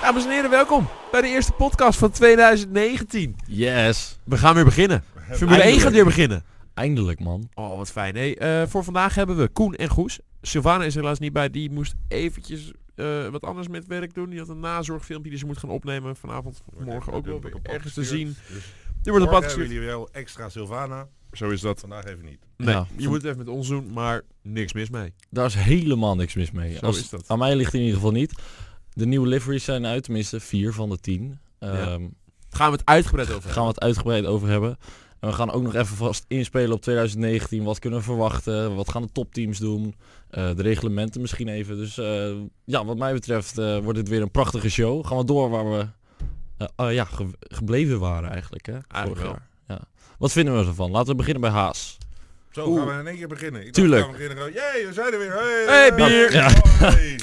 Dames en heren, welkom bij de eerste podcast van 2019. Yes. We gaan weer beginnen. Formule 1 Eindelijk. gaat weer beginnen. Eindelijk, man. Oh, wat fijn. Hey, eh, voor vandaag hebben we Koen en Goes. Sylvana is er helaas niet bij. Die moest eventjes eh, wat anders met werk doen. Die had een nazorgfilmpje die ze moet gaan opnemen. Vanavond, morgen ook nog ergens te zien. Die wordt op pad Morgen hebben gestuurd. jullie wel extra Sylvana. Zo is dat. Vandaag even niet. Nee, Ja. je moet het even met ons doen, maar niks mis mee. Daar is helemaal niks mis mee. Zo Als, is dat. Aan mij ligt het in ieder geval niet. De nieuwe liveries zijn uit, tenminste vier van de tien. Ehm Gaan we het uitgebreid over Gaan we het uitgebreid over hebben. En we gaan ook nog even vast inspelen op 2019. Wat kunnen we verwachten? Wat gaan de topteams doen? Eh, de reglementen misschien even. Dus eh, ja, wat mij betreft eh, wordt dit weer een prachtige show. Gaan we door waar we eh, ah ja, ge- gebleven waren eigenlijk. Hè? Eigenlijk wel. Ja. Wat vinden we ervan? Laten we beginnen bij Haas. Zo Oeh. gaan we in één keer beginnen. Ik dacht, Tuurlijk. we gaan beginnen gewoon, Jee, we zijn er weer. Hey, Hey, bier. Ja. Hoi.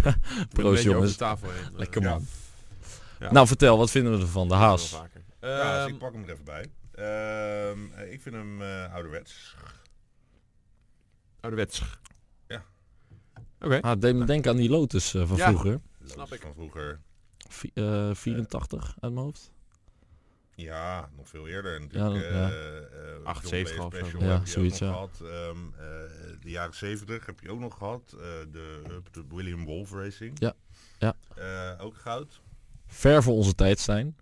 het Proost, jongens. tafel heen. eh, Lekker ja. man. Ja. Nou, vertel, wat vinden we ervan? De Haas. Ehm. Ja, dus ik pak hem er even bij. Ehm, ik vind hem eh, ouderwets. Ouderwets. Ja. Oké. Ah, het deed me denken aan die Lotus eh, van Ja. vroeger. Lotus Snap ik. Van vroeger. Vi- eh, 84 uit mijn hoofd. Ja, nog veel eerder. En Ja, natuurlijk, ja. eh, eh, John 78 Day of zo. Special Ja, heb je ook zoiets, nog ja. gehad. Ehm, eh, de jaren 70 heb je ook nog gehad. Eh, de, eh, de William Wolf Racing. Ja, ja. Eh, ook goud. Ver voor onze tijd zijn.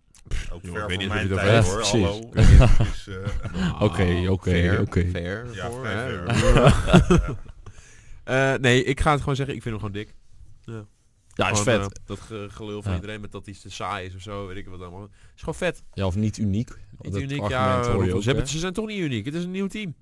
Ook Joh, ver ik weet van niet of mijn je het tijd over hoor, hebt. Precies. hallo. Ik weet niet, het is, eh, Oké, oké, Ah, Fair, oké. Fair. Ja, voor, vrij hè. fair. Eh, nee, ik ga het gewoon zeggen. Ik vind hem gewoon dik. Ja, is Gewoon, vet. eh, dat ge- gelul van Ja. iedereen met dat hij te saai is of zo, weet ik wat allemaal. Het is gewoon vet. Ja, of niet uniek. Niet Dat uniek, argument ja. hoor je eh, ook, ze, hebben, hè? ze zijn toch niet uniek. Het is een nieuw team.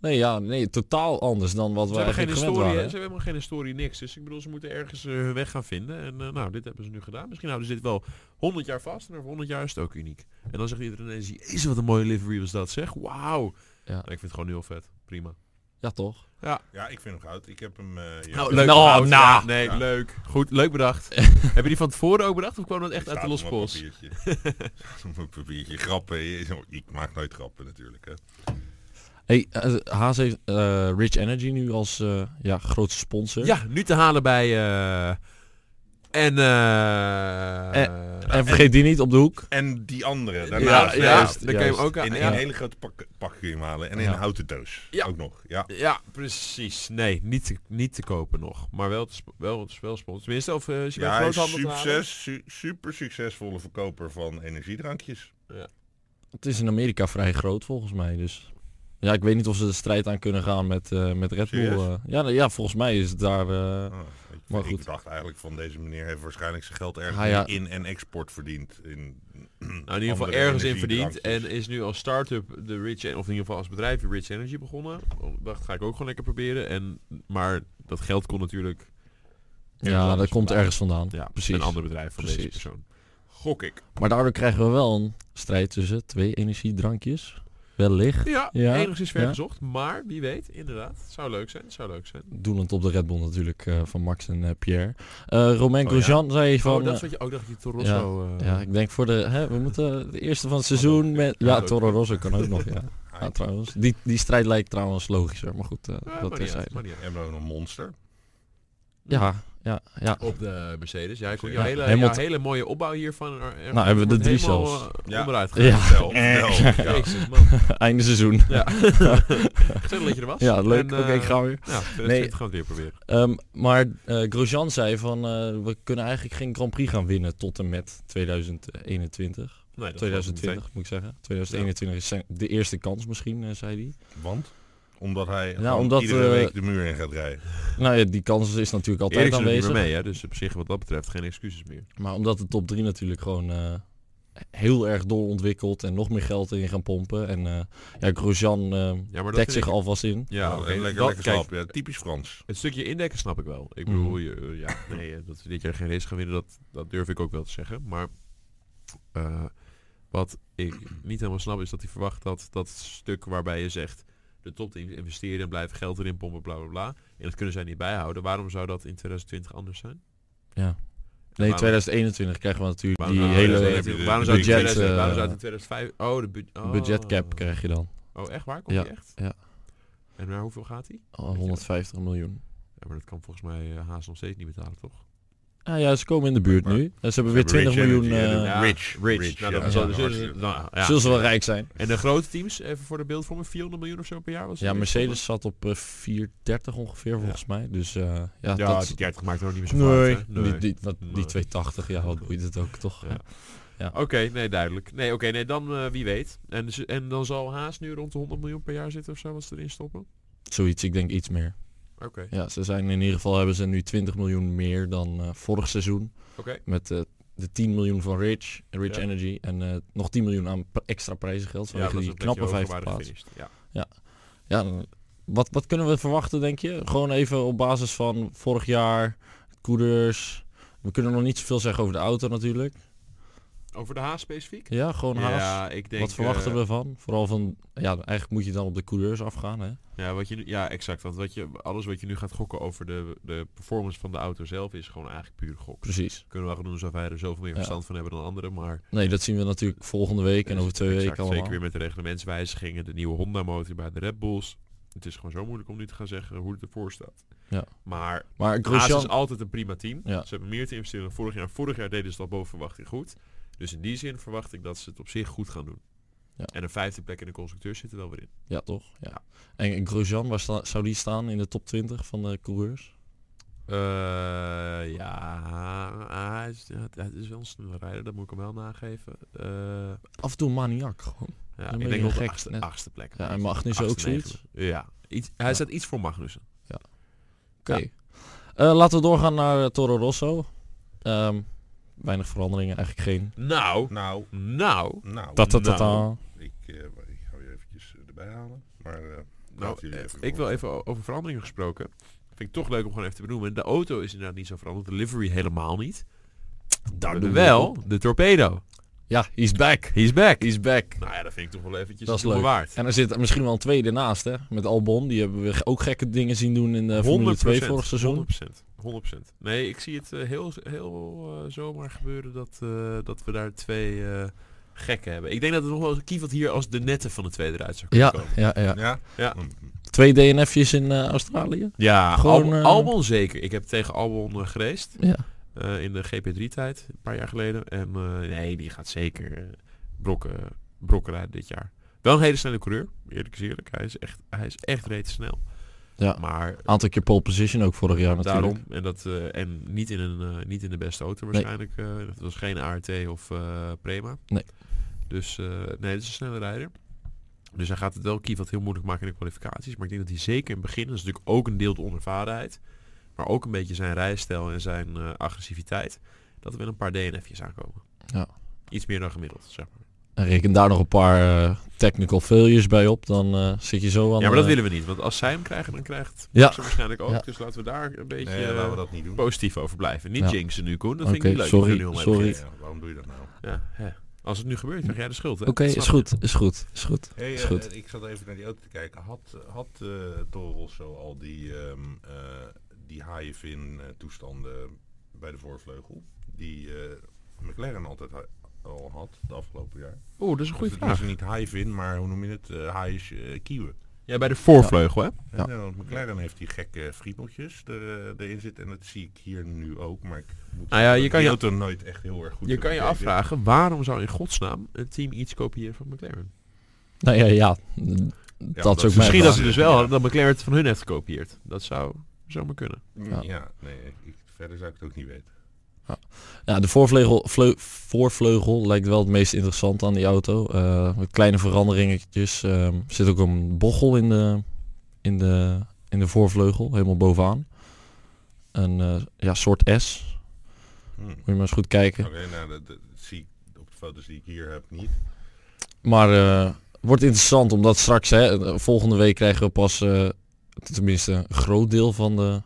Nee, ja, nee, totaal anders dan wat Ze we hebben, geen eigenlijk gewend historie, hè. ze hebben waren. helemaal geen historie, niks. Dus ik bedoel, ze moeten ergens eh, hun weg gaan vinden. En eh, nou, dit hebben ze nu gedaan. Misschien houden ze dit wel 100 jaar vast. En over 100 jaar is het ook uniek. En dan zegt iedereen ineens, jezus, wat een mooie livery was dat, zeg. Wauw. Ja. En ik vind het gewoon heel vet. Prima. Ja, toch? ja, ik vind hem goud. Ik heb hem... eh, ja, Nou, ik leuk. Nou, bedacht. nou. Ja, nee, Ja. leuk. Goed, leuk bedacht. Hebben die van tevoren ook bedacht of kwam dat echt staat uit de op mijn lospols? papiertje. Staat op mijn papiertje. Grappen. Je- Ik maak nooit grappen natuurlijk. Hè. Hey, eh, Haas heeft eh, Rich Energy nu als eh, ja, grootste sponsor. Ja, nu te halen bij... eh, en... eh, En vergeet die niet op de hoek. En die andere. ja, Daarnaast. ja, hè. juist, dan kan je hem juist. ook... aan- In ja. een hele grote pak, pak kun je hem halen. En in Ja. een houten doos. Ja. Ook nog. Ja. Ja, precies. Nee, niet te, niet te kopen nog. Maar wel, te sp- wel, wel sponsor. Tenminste, of eh is je bij Ja, hij is groothandel te halen? succes, su- super succesvolle verkoper van energiedrankjes. Het is in Amerika vrij groot volgens mij, dus... Ja, ik weet niet of ze de strijd aan kunnen gaan met, eh, met Red Bull. Serieus? eh. ja, nou ja, volgens mij is het daar... eh, Ah, ik, Maar ik goed. dacht eigenlijk van deze meneer heeft waarschijnlijk zijn geld ergens Ah, ja. in en export verdiend. In, Nou, in ieder geval ergens in verdiend. En is nu als start-up de Rich... En- Of in ieder geval als bedrijf de Rich Energy begonnen. Dacht, ga ik ook gewoon lekker proberen. En, maar dat geld kon natuurlijk... ja, dat komt ergens vandaan. Ja, precies. Een ander bedrijf van deze Precies. persoon. Gok ik. Maar daardoor krijgen we wel een strijd tussen twee energiedrankjes. Wellicht. Ja, Ja, enigszins ver ja. gezocht. Maar wie weet, inderdaad. Het Zou leuk zijn, het zou leuk zijn. Doelend op de Red Bull natuurlijk eh, van Max en eh, Pierre. Eh Romain Oh, Grosjean zei van... oh, dat is eh, wat je ook dacht, die Toro Rosso... eh, Ja, ik denk voor de... Hè, we moeten de eerste van het seizoen met... Ja, Ja, ook. Toro Rosso kan ook nog, ja. Ja, Ah. trouwens. Die, die strijd lijkt trouwens logischer, maar goed, eh, eh, maar dat niet is uit, maar niet uit. En dan een monster. Ja, ja, ja. Op de Mercedes. Ja, ik vond Ja, jouw hele, helemaal jouw hele mooie opbouw hiervan. er- er- Nou, hebben we de wordt drie helemaal, zelfs. eh, Ja. Onderuit gegaan. Ja, Vertel, vertel. Ja. Jezus, man. einde seizoen. Ja. Gezellig dat je er was. Ja, leuk. En, Oké, eh, ik ga weer. Nou, Nee. nee. gaan we het weer proberen. Ehm, maar eh, Grosjean zei van, eh, we kunnen eigenlijk geen Grand Prix gaan winnen tot en met 2021. Nee, dat 2020 moet ik zeggen. 2021 is zijn de eerste kans misschien, eh, zei hij. Want? Omdat hij Nou, Ja, gewoon omdat, iedere eh, week de muur in gaat rijden. Nou ja, die kans is natuurlijk altijd Eerlijk zijn aanwezig. we mee, hè? dus op zich wat dat betreft geen excuses meer. Maar omdat de top 3 natuurlijk gewoon eh, heel erg doorontwikkeld en nog meer geld in gaan pompen. En eh ja, Grosjean eh, Ja, maar dat dekt vind zich ik- alvast in. Ja, Nou, oké, en lekker, dat- lekker kijk, slap. Ja, typisch Frans. Het stukje indekken snap ik wel. Ik bedoel, Mhm. je, eh, ja, nee, eh, dat we dit jaar geen race gaan winnen, dat, dat durf ik ook wel te zeggen. Maar eh, wat ik niet helemaal snap is dat hij verwacht dat dat stuk waarbij je zegt de topteams investeren en blijven geld erin pompen, bla bla bla. En dat kunnen zij niet bijhouden. Waarom zou dat in 2020 anders zijn? Nee, Waarom- 2021 krijgen we natuurlijk Waarom die zou- hele 2020 eh, waarom zou het in budget, 2000 waarom eh, zou het in 2005? Oh, de budget budgetcap krijg je dan. Oh, echt waar? Komt Ja, die echt? ja. En naar hoeveel gaat hij? Oh, 150 miljoen. Ja, maar dat kan volgens mij eh, Haas nog steeds niet betalen, toch? Ah, ja, ze komen in de buurt nu. En ze hebben weer 20 Rich miljoen... Energy, eh, ja. Rich, Rich. Rich, nou, ja. dat is wel- Ja. zullen ze- nou, ja. Zullen ze wel rijk zijn. En de grote teams, even voor de beeldvorming, 400 miljoen of zo per jaar was het Ja, weer, Mercedes zat op eh, 430 ongeveer volgens mij. Dus eh, ja, toch? Ja, dat... die 30 maakt er ook niet meer zoveel Nee, uit, hè? die, die, dat- die Nee. 280, ja, wat boeit het ook toch? Ja. hè? Oké, nee, duidelijk. Nee, oké, nee, dan eh, wie weet. En, ze- en dan zal Haas nu rond de 100 miljoen per jaar zitten of zo, wat ze erin stoppen. Zoiets, ik denk iets meer. Oké, Ja, ze zijn in ieder geval hebben ze nu 20 miljoen meer dan eh, vorig seizoen. oké. Met eh, de 10 miljoen van Rich, Rich Ja. Energy en eh, nog 10 miljoen aan p- extra prijzengeld. Ja, Vanwege dat is die een beetje knappe vijfde hoogwaardig plaats. finished. Ja. Ja, dan- wat, wat kunnen we verwachten, denk je? Gewoon even op basis van vorig jaar, coureurs. We kunnen nog niet zoveel zeggen over de auto natuurlijk. Over de Haas specifiek? Ja, gewoon haast. Ja, ik denk... Wat verwachten eh, we van? Vooral van, ja, eigenlijk moet je dan op de coureurs afgaan, hè? Ja, wat je nu, ja exact. Want wat je, alles wat je nu gaat gokken over de, de performance van de auto zelf is gewoon eigenlijk puur gok. Precies. Kunnen we wel doen alsof wij er zoveel meer Ja. verstand van hebben dan anderen, maar... Nee, dat zien we natuurlijk volgende week en Dus over twee exact, weken allemaal. Zeker weer met de reglementswijzigingen, de nieuwe Honda-motor bij de Red Bulls. Het is gewoon zo moeilijk om nu te gaan zeggen hoe het ervoor staat. Ja. Maar Maar Haas Grosjean, is altijd een prima team. Ja. Ze hebben meer te investeren dan vorig jaar. Vorig jaar deden ze dat boven verwachting goed. Dus in die zin verwacht ik dat ze het op zich goed gaan doen. Ja. En een vijfde plek in de constructeur zit er wel weer in. ja toch? Ja. Ja. En Grosjean, waar sta- zou die staan in de top 20 van de coureurs? Eh, ja, hij is, ja, hij is wel een snelle rijder, dat moet ik hem wel nageven. Eh, Af en toe een maniak gewoon. ja, ben ik je denk heel op de gek achtste, net. achtste plek. Ja, en Magnussen Achtste, ook zoiets? negende. Ja, iets, hij Ja. staat iets voor Magnussen. Oké. Eh, laten we doorgaan naar eh, Toro Rosso. Ehm, weinig veranderingen, eigenlijk geen. Nou, Nou, nou, nou. Dat, dat, dat, Nou. Ik, eh, ik ga weer eventjes eh, erbij halen. Maar eh, nou laten jullie eh, even ik wil gewoon- even o- over veranderingen gesproken. Vind ik toch leuk om gewoon even te benoemen. De auto is inderdaad niet zo veranderd, de livery helemaal niet. Daar Maar doen we wel op. de torpedo. Ja, he's back. He's back. He's back. Nou ja, dat vind ik toch wel eventjes Dat is de moeite waard. En er zit misschien wel een tweede naast, hè? Met Albon. Die hebben we ook gekke dingen zien doen in de Eh, Formule 2 vorig seizoen. 100%. 100%. Nee, ik zie het eh, heel, heel eh, zomaar gebeuren dat, eh, dat we daar twee eh, gekken hebben. Ik denk dat het nog wel eens kievelt hier als de netten van de tweede eruit zou kunnen Ja, komen. ja, ja. Ja? Mm-hmm. Ja. Twee DNF'jes in eh, Australië. Ja, Gewoon, Albon, eh, Albon zeker. Ik heb tegen Albon eh, gereisd. Ja. eh, in de GP3-tijd, een paar jaar geleden. En eh, nee, die gaat zeker eh, brokken, brokken rijden dit jaar. Wel een hele snelle coureur, eerlijk is eerlijk. Hij is echt, hij is echt reeds snel. Ja. Maar Aantal keer pole position ook vorig jaar natuurlijk. daarom, en, dat, eh, en niet, in een, eh, niet in de beste auto waarschijnlijk. eh het was geen ART of eh, Prema. Nee. Dus eh, nee, het is een snelle rijder. Dus hij gaat het wel Kievat heel moeilijk maken in de kwalificaties. Maar ik denk dat hij zeker in het begin, dat is natuurlijk ook een deel de onervarenheid. Maar ook een beetje zijn rijstijl en zijn eh, agressiviteit. Dat er wel een paar DNF'jes aankomen. Ja. Iets meer dan gemiddeld, zeg maar. En reken daar nog een paar eh, technical failures bij op. Dan eh, zit je zo aan ja, maar dat de- willen we niet. Want als zij hem krijgen, dan krijgt Ja. ze waarschijnlijk ook. Ja. Dus laten we daar een beetje... Nee, laten we eh, dat niet doen. positief over blijven. Niet Ja. jinxen nu, Koen. Dat vind Oké, ik niet leuk. sorry, Ik vind het heel sorry. erg. Ja, waarom doe je dat nou? Ja, hè. Als het nu gebeurt, krijg jij de schuld. hè? Oké, Dat snap is je. goed, is goed, is goed. Hey, Is eh, goed. ik zat even naar die auto te kijken. Had, had eh Toro Rosso al die, ehm eh, die haaienvin eh, toestanden bij de voorvleugel? Die eh, McLaren altijd ha- al had de afgelopen jaar. Oeh, dat is een goede dus het is vraag. niet haaienvin, maar hoe noem je het? Eh haaiers eh, kieuwen. Ja, bij de voorvleugel, hè? Eh, Ja. nee, want McLaren heeft die gekke friemeltjes er, eh, erin zitten. En dat zie ik hier nu ook. Maar ik moet Nou ja, zeggen je dat kan je- die auto nooit echt heel erg goed Je heb kan je bekeken. afvragen, waarom zou in godsnaam een team iets kopiëren van McLaren? Nou ja, ja. dat is dat ook is- mijn Misschien vraag. dat ze dus wel hadden dat McLaren het van hun heeft gekopieerd. Dat zou zomaar kunnen. Mm, Ja, nee, ik, ik- verder zou ik het ook niet weten. Ja, de voorvleugel, vleu- voorvleugel lijkt wel het meest interessant aan die auto. Eh, met kleine veranderingetjes. Ehm, er zit ook een bochel in de, in de, in de voorvleugel, helemaal bovenaan. Een eh, ja, soort S. Hmm. Moet je maar eens goed kijken. Oké, nou, dat, dat zie ik op de foto's die ik hier heb niet. Maar eh, wordt interessant omdat straks, hè, eh, volgende week krijgen we pas eh, tenminste een groot deel van de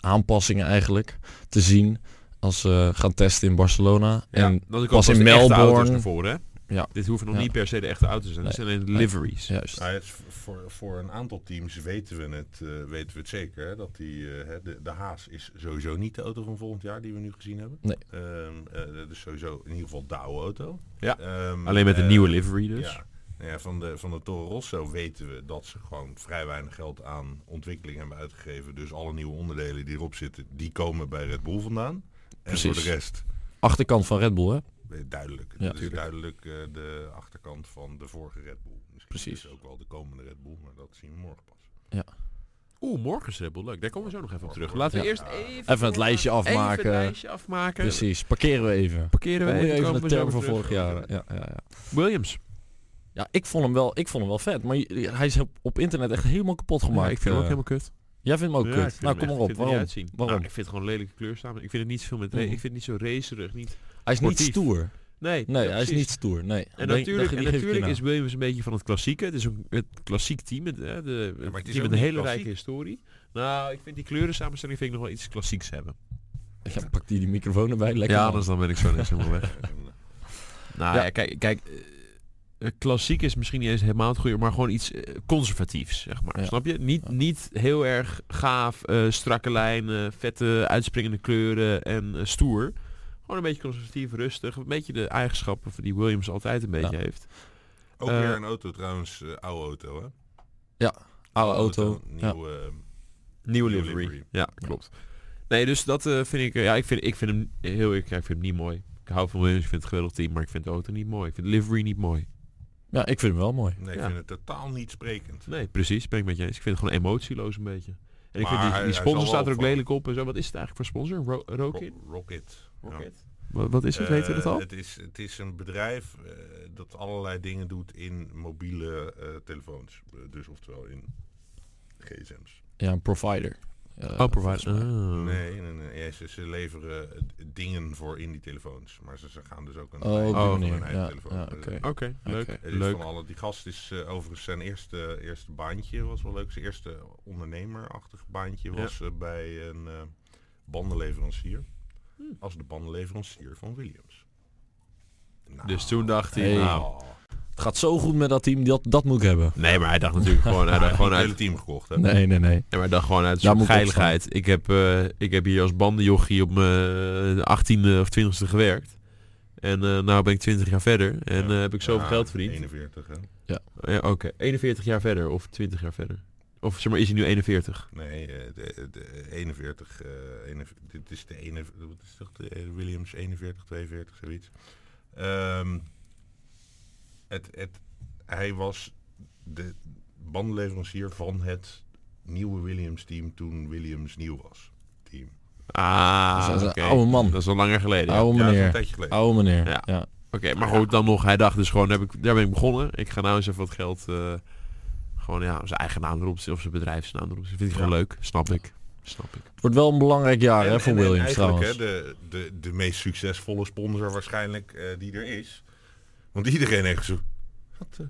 aanpassingen eigenlijk te zien. Als ze gaan testen in Barcelona. En dat ik pas in Melbourne. Melbourne. Naar voren, hè? Ja. Dit hoeven nog Ja. niet per se de echte auto's te zijn. Dit zijn alleen de liveries. juist. Nou, het is voor, voor een aantal teams weten we het, eh, weten we het zeker. Hè, dat die, eh, hè, de, de Haas is sowieso niet de auto van volgend jaar die we nu gezien hebben. Nee. Ehm, eh, dat is sowieso in ieder geval de oude auto. Ja, Ehm, Alleen met een eh, nieuwe livery dus. Ja. Nou ja, van, de, van de Toro Rosso weten we dat ze gewoon vrij weinig geld aan ontwikkeling hebben uitgegeven. Dus alle nieuwe onderdelen die erop zitten, die komen bij Red Bull vandaan. En voor Precies. de rest, Achterkant van Red Bull, hè? eh, duidelijk. Ja, dat is tuurlijk. duidelijk eh, de achterkant van de vorige Red Bull. Misschien Precies. dus ook wel de komende Red Bull, maar dat zien we morgen pas. Oeh, morgen is Red Bull leuk. Daar komen we zo nog even op terug. Ja. Laten we Ja. eerst even, Even het lijstje Even het afmaken. lijstje afmaken. Precies, parkeren we even. Parkeren we Moet je even. even komen de we zo term weer van terug. vorig jaar. Ja, ja, ja. Williams. ja ik, vond hem wel, ik vond hem wel vet, maar je- hij is op- op internet echt helemaal kapot gemaakt. Ja, ik vind hem ook Eh, helemaal kut. Jij vindt hem ook Ja, ik kut. vind Nou, hem kom maar echt- op. ik vind hem niet Waarom? uitzien. Waarom? Nou, ik vind het gewoon lelijke kleur samen. Ik vind het niet veel met ra- Ik Mhm. vind het niet zo racerig. Niet... Hij is niet sportief. stoer. Nee, Nee, ja, hij is precies. niet stoer. Nee. En Denk- natuurlijk, die en geef ik je natuurlijk na. is Williams een beetje van het klassieke. Het is een het klassiek team. Het, hè, de, maar het het is team ook met een hele niet rijke klassiek. historie. Nou, ik vind die kleurensamenstelling vind ik nog wel iets klassieks hebben. nou- Ja, pak die, die microfoon erbij. Lekker. ja, man. anders dan ben ik zo net helemaal weg. En, Nou Ja. ja, kijk, kijk eh, klassiek is misschien niet eens helemaal het goede, maar gewoon iets eh, conservatiefs, zeg maar. Ja. Snap je? Niet, Ja. niet heel erg gaaf, eh, strakke lijnen, vette uitspringende kleuren en eh, stoer. Gewoon een beetje conservatief, rustig. Een beetje de eigenschappen die Williams altijd een beetje Ja. heeft. eh, ook Eh, weer een auto trouwens, eh, oude auto hè? Oude auto. Ja. Nieuwe, eh, Nieuwe Nieuwe livery. livery. Ja, klopt. Nee, dus dat eh, vind ik... eh, ja, ik vind, ik vind hem heel... eerlijk, ja, ik vind hem niet mooi. Ik hou van Williams, ik vind het een geweldig team, maar ik vind de auto niet mooi. Ik vind de livery niet mooi. ja, ik vind hem wel mooi. nee, ik Ja. vind het totaal niet sprekend. Nee, precies. Ben ik met je eens. Ik vind het gewoon emotieloos een beetje. En ik vind Maar die, hij- die hij sponsor zal staat er wel ook van- lelijk op en zo. Wat is het eigenlijk voor sponsor? Ro Rokin? Ro- Rocket. Ja. Wat, wat is het? Weet je dat Eh, al? Het is, het is een bedrijf eh, dat allerlei dingen doet in mobiele eh, telefoons. Eh, dus oftewel in gsm's. Ja, een provider. Eh, oh, volgens mij. provider. Ah. Nee, nee, nee. Ja, ze, ze leveren eh, d- dingen voor in die telefoons. Maar ze, ze gaan dus ook een Oh, op die Oh, manier. een eigen Ja, telefoon. ja, Dus oké. Oké, leuk. Oké. het is leuk. Van alle, die gast is eh, overigens zijn eerste, eerste baantje, was wel leuk. Zijn eerste ondernemerachtig baantje Ja. was eh, bij een eh, bandenleverancier. Hm. Als de bandenleverancier van Williams. Nou. Dus toen dacht hij... Hey. Nou, Oh. Het gaat zo goed met dat team, dat, dat moet ik hebben. nee, maar hij dacht natuurlijk gewoon, hij dacht gewoon het uit... hele team gekocht, hè? Nee, nee, nee. Ja, maar dan gewoon uit een Daar soort moet ik geiligheid. Ik heb, eh, ik heb hier als bandenjochie op mijn 18e of 20e gewerkt. En eh nou ben ik 20 jaar verder. En Ja. eh, heb ik zoveel Ja, geld verdiend. 41, hè? Ja, Oké, 41 jaar verder of 20 jaar verder. Of zeg maar, is hij nu 41? Nee, eh, de, de 41, eh, 41 dit is de ene, wat is toch de eh, Williams 41, 42, zoiets. Ehm, het, het, hij was de bandleverancier van het nieuwe Williams team toen Williams nieuw was. Team. Ah, Dus dat is een oké. oude man. Dat is al langer geleden. ja. Oude Ja, dat is een meneer. tijdje geleden. Oude meneer. Ja. Ja. Oké, maar goed, dan nog. Hij dacht dus gewoon, heb ik, daar ben ik begonnen. Ik ga nou eens even wat geld... eh, gewoon, ja, zijn eigen naam erop zetten of zijn bedrijfsnaam erop zetten. Vind ik gewoon leuk. Snap ik. Snap ik. Het wordt wel een belangrijk jaar En- hè, voor en- en Williams eigenlijk, trouwens. Hè, de, de, de meest succesvolle sponsor waarschijnlijk eh, die er is. Want iedereen heeft zo... Wat, eh,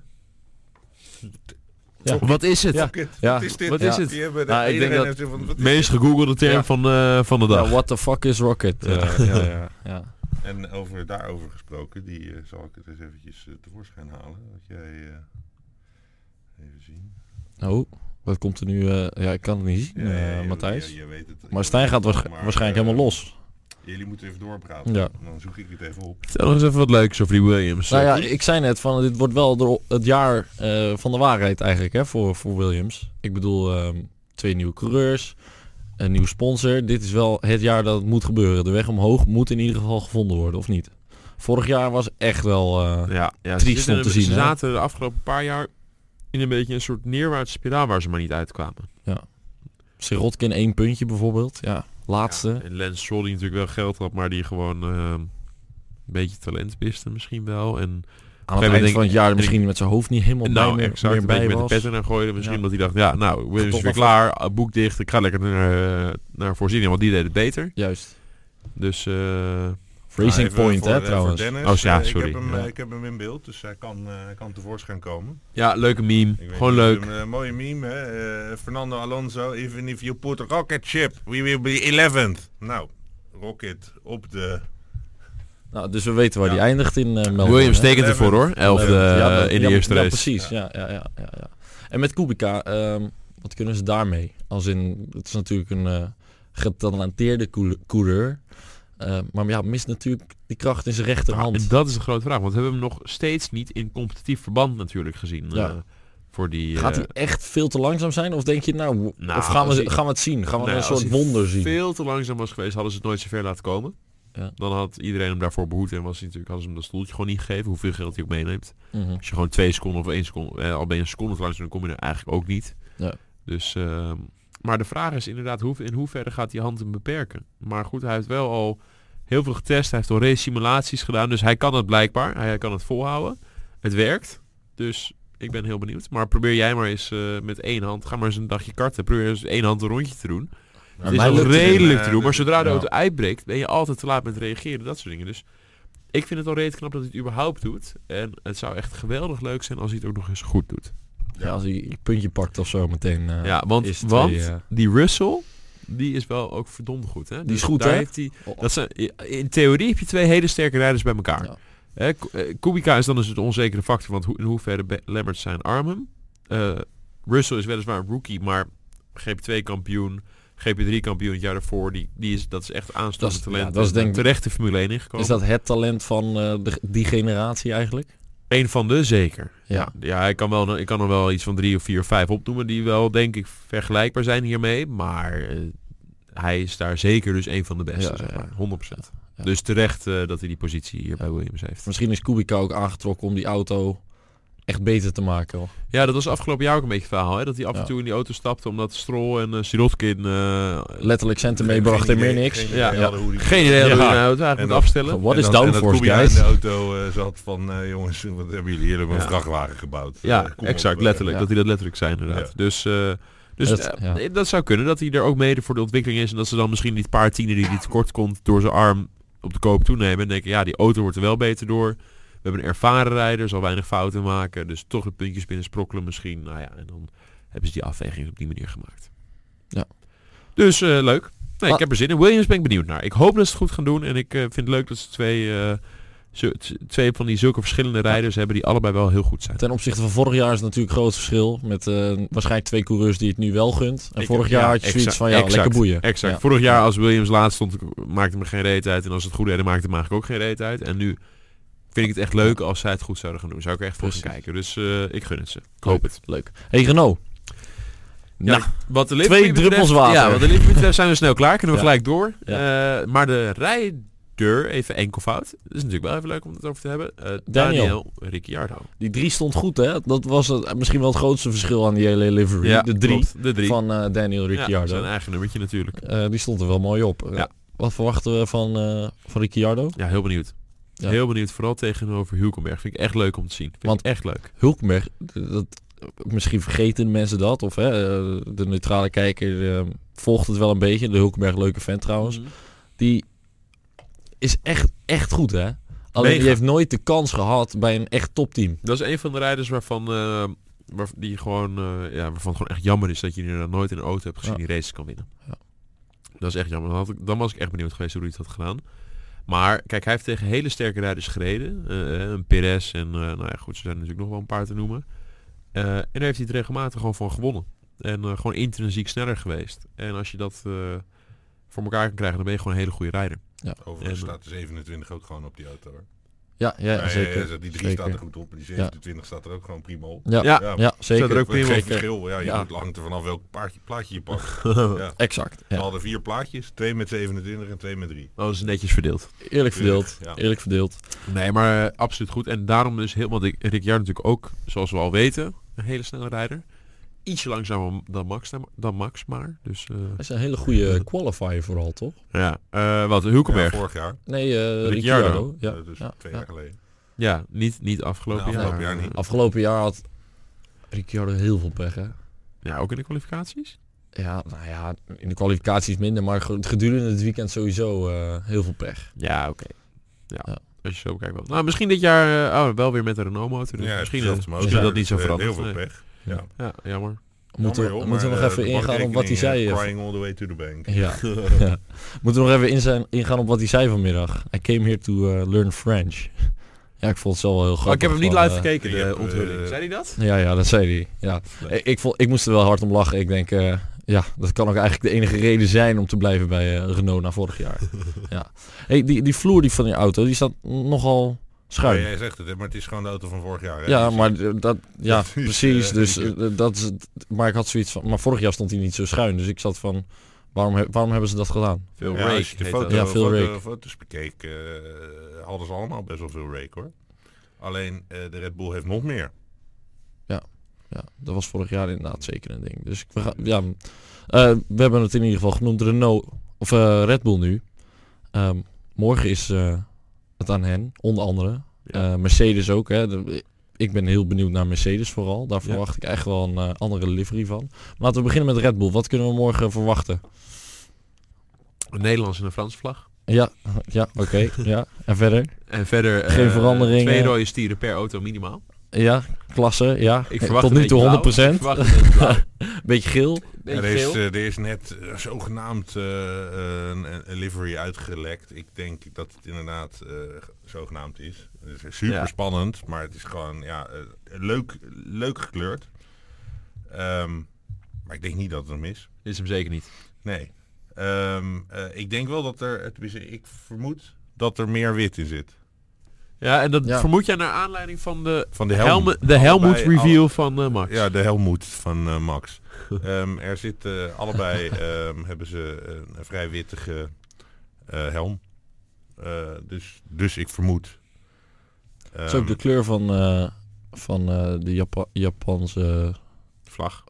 Ja. Wat is het? Ja. fuck it, Ja, wat is dit? wat is Die het? hebben de- Nou, ik denk iedereen dat heeft zo van, wat is Meest gegoogelde term Ja. van, eh, van de dag. Ja, what the fuck is Rocket? Ja. Eh, ja, ja, ja. En over, daarover gesproken, die eh, zal ik het eens eventjes eh, tevoorschijn halen. Wat jij... eh, even zien. Oh, wat komt er nu? eh, ja, ik kan het niet zien, Ja, ja, eh, je- Matthijs. je- je weet het. Maar Stijn gaat waarsch- Maar, waarschijnlijk eh, helemaal los. Jullie moeten even doorpraten. Ja. Dan zoek ik het even op. Vertel nog eens even wat leuks over die Williams. Nou ja, ik zei net van dit wordt wel de- het jaar eh, van de waarheid eigenlijk hè, voor, voor Williams. Ik bedoel, ehm, twee nieuwe coureurs, een nieuwe sponsor. Dit is wel het jaar dat het moet gebeuren. De weg omhoog moet in ieder geval gevonden worden, of niet? Vorig jaar was echt wel... eh, Ja, ja Triest zitten om in te een- zien, Ze hè? zaten de afgelopen paar jaar in een beetje een soort neerwaartse spiraal waar ze maar niet uitkwamen. Sirotkin één puntje bijvoorbeeld, ja. Laatste. En Lance Stroll die natuurlijk wel geld had, maar die gewoon eh, een beetje talent miste misschien wel. En Aan het Geen eind denk- van het jaar ik- misschien met zijn hoofd niet helemaal bij nou, meer, exact, meer een beetje bij met de was. pet naar gooiden misschien, Ja. omdat hij dacht, ja, nou, Williams Toch is weer nog klaar, eh, boek dicht, ik ga lekker naar, eh, naar voorziening, want die deed het beter. Juist. Dus eh, Racing Even Point, voor, eh, hè, voor trouwens. Dennis, Oh, ja, eh, sorry. Ik heb, hem, Ja. eh, ik heb hem in beeld, dus hij kan, eh, hij kan tevoorschijn komen. ja, leuke meme. Ik weet Gewoon niet, leuk. Een eh, mooie meme, hè? eh, Fernando Alonso, even if you put a rocket ship, we will be 11th. Nou, rocket op de... Nou, dus we weten waar Ja. die eindigt in eh Melbourne. Williams hè? tekent ervoor hoor, elfde Ja, eh, dat- in de ja, eerste ja, race. precies. Ja. Ja, ja, ja, ja. En met Kubica, ehm, wat kunnen ze daarmee? Als in, het is natuurlijk een eh, getalenteerde coule- coureur. Eh, Eh, maar ja, mist natuurlijk die kracht in zijn rechterhand. Nou, dat is een grote vraag, want we hebben hem nog steeds niet in competitief verband natuurlijk gezien. Ja. eh, voor die, eh, Gaat hij echt veel te langzaam zijn? Of denk je, nou, w- Nou, of gaan als we, hij- gaan we het zien? Gaan we Nou, een als soort hij wonder zien? veel te langzaam was geweest, hadden ze het nooit zo ver laten komen. Ja. Dan had iedereen hem daarvoor behoed en was hij natuurlijk, hadden ze hem dat stoeltje gewoon niet gegeven, hoeveel geld hij ook meeneemt. Mhm. Als je gewoon twee seconden of één seconde, eh, al ben je een seconde te langzaam, dan kom je er eigenlijk ook niet. Ja. Dus, ehm, maar de vraag is inderdaad, hoe, in hoeverre gaat die hand hem beperken? Maar goed, hij heeft wel al heel veel getest, hij heeft al race simulaties gedaan, dus hij kan het blijkbaar, hij kan het volhouden. Het werkt, dus ik ben heel benieuwd. Maar probeer jij maar eens eh, met één hand, ga maar eens een dagje karten, probeer eens één hand een rondje te doen. Maar Het is mij nog lukt het in, redelijk eh, te doen, maar dat- zodra de ja. auto uitbreekt ben je altijd te laat met reageren, dat soort dingen. Dus ik vind het al redelijk knap dat hij het überhaupt doet. En het zou echt geweldig leuk zijn als hij het ook nog eens goed doet. Ja, als hij een puntje pakt of zo meteen. eh, ja, want, is twee, want eh, die Russell, die is wel ook verdomd goed. Hè? Dus is goed, daar hè? Heeft hij, Oh. dat zijn, in theorie heb je twee hele sterke rijders bij elkaar. Ja. Hè, Ku- eh, Kubica is dan dus het onzekere factor, want hoe, in hoeverre be- lemmert zijn arm hem. Eh, Russell is weliswaar een rookie, maar GP2-kampioen, GP3-kampioen het jaar daarvoor, die, die is, dat is echt Dat aanstaande is- talent. ja, dat is En, denk eh, ik- terecht de Formule 1 ingekomen. Is dat het talent van eh, de- die generatie eigenlijk? Een van de zeker. Ja. Ja, ja ik, kan wel, ik kan er wel iets van drie of vier of vijf opnoemen die wel denk ik vergelijkbaar zijn hiermee. Maar eh, hij is daar zeker dus een van de beste, Ja, zeg ja. maar. 100%. Ja. Dus terecht eh, dat hij die positie hier bij Williams heeft. Misschien is Kubica ook aangetrokken om die auto echt beter te maken. hoor. Ja, dat was afgelopen jaar ook een beetje het verhaal. Hè? Dat hij af en Ja. toe in die auto stapte omdat Stroll en eh, Sirotkin eh, Letterlijk centen Geen- meebracht en geen meer idee- niks. geen Ja, idee ja. hadden hoe die- geen idee hadden Ja. hoe hij een auto eigenlijk moet En dan- afstellen. Wat is en dat- en dat downforce, Kubica in guys? de auto eh, zat van, eh, jongens, wat hebben jullie hier? Hebben we Ja. een vrachtwagen gebouwd. Eh, Ja, kom op, exact, eh, letterlijk. ja. Dat hij dat letterlijk zijn inderdaad. Ja. Dus, eh, dus eh, Dat- dat, ja. zou kunnen, dat hij er ook mede voor de ontwikkeling is. En dat ze dan misschien die paar tienen die hij tekort komt door zijn arm op de koop toenemen. En denken, ja, die auto wordt er wel beter door. We hebben een ervaren rijder, zal weinig fouten maken. Dus toch de puntjes binnen sprokkelen misschien. Nou ja, en dan hebben ze die afweging op die manier gemaakt. Ja. Dus eh, leuk. Nee, Ah. ik heb er zin in. Williams ben ik benieuwd naar. Ik hoop dat ze het goed gaan doen. En ik eh, vind het leuk dat ze twee, eh, zo- t- twee van die zulke verschillende rijders hebben die allebei wel heel goed zijn. Ten opzichte van vorig jaar is het natuurlijk groot verschil. Met eh, waarschijnlijk twee coureurs die het nu wel gunt. En Ik- vorig ja, jaar had je zoiets exact, van, ja, exact, lekker boeien. Exact. Ja. Vorig jaar als Williams laatst stond, maakte me geen reet uit. En als ze het goed deden, maakte me eigenlijk ook geen reet uit. En nu vind ik het echt leuk als zij het goed zouden gaan doen. Zou ik er echt voor gaan Precies. kijken. Dus eh, ik gun het ze. Ik hoop het. Leuk. Hey Renault. Ja, nou, Wat de Twee Liverpool betreft- druppels water. Ja, wat de Liverpool betreft zijn we snel klaar. Kunnen we Ja. gelijk door. Eh, maar de rijder, even enkelvoud. Dat is natuurlijk wel even leuk om het over te hebben. Eh, Daniel, Ricciardo. die drie stond goed, hè? Dat was het, misschien wel het grootste verschil aan die hele livery. de drie klopt, de drie. van eh, Daniel Ja, Ricciardo. zijn eigen nummertje natuurlijk. Eh, die stond er wel mooi op. Eh, Ja. Wat verwachten we van, eh, van Ricciardo? Ja, heel benieuwd. Ja. Heel benieuwd. Vooral tegenover Hulkenberg. Vind ik echt leuk om te zien. Vind Want- ik echt leuk. Hulkenberg, dat, misschien vergeten mensen dat. Of hè, eh, de neutrale kijker eh, volgt het wel een beetje. De Hulkenberg, leuke vent trouwens. Mhm. Die is echt, echt goed, hè? Alleen Mega. die heeft nooit de kans gehad bij een echt topteam. Dat is een van de rijders waarvan, eh, waar, die gewoon, eh, ja, waarvan het gewoon echt jammer is dat je inderdaad nooit in een auto hebt gezien Ja. die races kan winnen. Ja. Dat is echt jammer. Dan, had ik, dan was ik echt benieuwd geweest hoe hij het had gedaan. Maar kijk, hij heeft tegen hele sterke rijders gereden. Eh, eh, een Perez en eh, nou ja, goed, er zijn natuurlijk nog wel een paar te noemen. Eh, en daar heeft hij het regelmatig gewoon van gewonnen. En eh, gewoon intrinsiek sneller geweest. En als je dat eh, voor elkaar kan krijgen, dan ben je gewoon een hele goede rijder. Overigens En- staat de 27 ook gewoon op die auto. hoor. Ja, ja, Ja, ja, zeker. ja, die drie zeker. staat er goed op en die 27 staat er ook gewoon prima op. Ja, ja, Ja. zeker. Staat er ook Geen prima op. verschil. Ja, je Ja. moet hangt er vanaf welk plaatje, plaatje je pakt. Ja. Exact. We Ja. hadden vier plaatjes, twee met 27 en twee met 3. Dat is netjes verdeeld. Eerlijk verdeeld. Ja. Eerlijk verdeeld. Nee, maar eh, absoluut goed. En daarom dus helemaal Ricciardo natuurlijk ook, zoals we al weten, een hele snelle rijder. Ietsje langzamer dan Max, dan Max maar. Dus eh, Hij is een hele goede qualifier vooral, toch? ja, Eh, wat Ja, Hulkenberg. Ja, vorig jaar, Nee, Ricciardo. eh Ricciardo. Ja. eh, dus Ja, twee ja. jaar geleden. niet, niet afgelopen, Nou, afgelopen jaar niet. Afgelopen jaar had Ricciardo heel veel pech, hè? Ja, ook in de kwalificaties. Ja, nou ja, in de kwalificaties minder, maar ge- gedurende het weekend sowieso eh, heel veel pech. Ja, oké. Ja. Ja. Als je zo bekijkt wel. Nou, misschien dit jaar eh, oh, wel weer met een Renault motor. Dus Ja, misschien hetzelfde misschien motor. dat niet zo Eh, veranderd. Heel veel Nee. pech. Ja. Ja, jammer. Moeten, Jammer, joh, moeten we maar, nog eh, even de ingaan op wat hij bankrekening, zei? eh, eh, Crying all the way to the bank. Ja. ja. Moeten we nog even in zijn, ingaan op wat hij zei vanmiddag? I came here to eh, learn French. Ja, ik vond het zo wel heel grappig. Oh, ik heb hem niet van, live eh, gekeken, je de hebt, eh, onthulling. Zei hij dat? Ja, ja, dat zei hij. Ja. Ik, ik, vond, ik moest er wel hard om lachen. Ik denk, eh, Ja, dat kan ook eigenlijk de enige reden zijn om te blijven bij eh, Renault na vorig jaar. ja. hey, die, die vloer die van die auto, die staat nogal Ja, schuin. Oh, jij zegt het, hè, maar het is gewoon de auto van vorig jaar. hè? Oh, Ja, Dus- maar d- dat, ja, Dat is, precies. eh, dus uniek, eh, dat is, het. maar ik had zoiets van, maar vorig jaar stond hij niet zo schuin, dus ik zat van, waarom, he- waarom hebben ze dat gedaan? Veel Ja, rake als je de heet foto, dat. Ja, veel foto- rake. foto's bekeek, eh, hadden ze allemaal best wel veel rake hoor. Alleen eh, de Red Bull heeft nog meer. Ja, dat was vorig jaar inderdaad zeker een ding. Dus ik, we, gaan- ja, eh, we hebben het in ieder geval genoemd Renault of eh, Red Bull nu. Ehm, morgen is eh, het aan hen, onder andere. Ja. Eh, Mercedes ook. Hè. De- ik ben heel benieuwd naar Mercedes vooral. Daar Ja. verwacht ik echt wel een eh, andere livery van. Maar laten we beginnen met Red Bull. Wat kunnen we morgen verwachten? Een Nederlands en een Frans vlag. Ja, ja, oké. ja. En verder? En verder Geen eh, veranderingen. twee rode stieren per auto minimaal. Ja, klasse, ja. Ik verwacht Tot nu toe 100 100%. Ik verwacht een beetje blauw. Beetje geel. Beetje er, is, geel. eh, er is net eh, zogenaamd eh, een, een- een livery uitgelekt. Ik denk dat het inderdaad eh, zogenaamd is. Het is super Ja. spannend, maar het is gewoon ja, eh, leuk, leuk gekleurd. Ehm, maar ik denk niet dat het hem is. Dit eh, is hem zeker niet. Nee. Ehm, eh, ik denk wel dat er, tenminste, ik vermoed dat er meer wit in zit. Ja, en dat Ja. vermoed jij naar aanleiding van de, Van de helm. Helme, de Helmut Allebei- review van eh, Max. Ja, de Helmoet van eh, Max. Ehm, er zitten allebei ehm, hebben ze een, een vrij wittige eh, helm. Eh, dus, dus ik vermoed. Dat is ook de Ehm, kleur van, eh, van eh, de Japa- Japanse... vlag.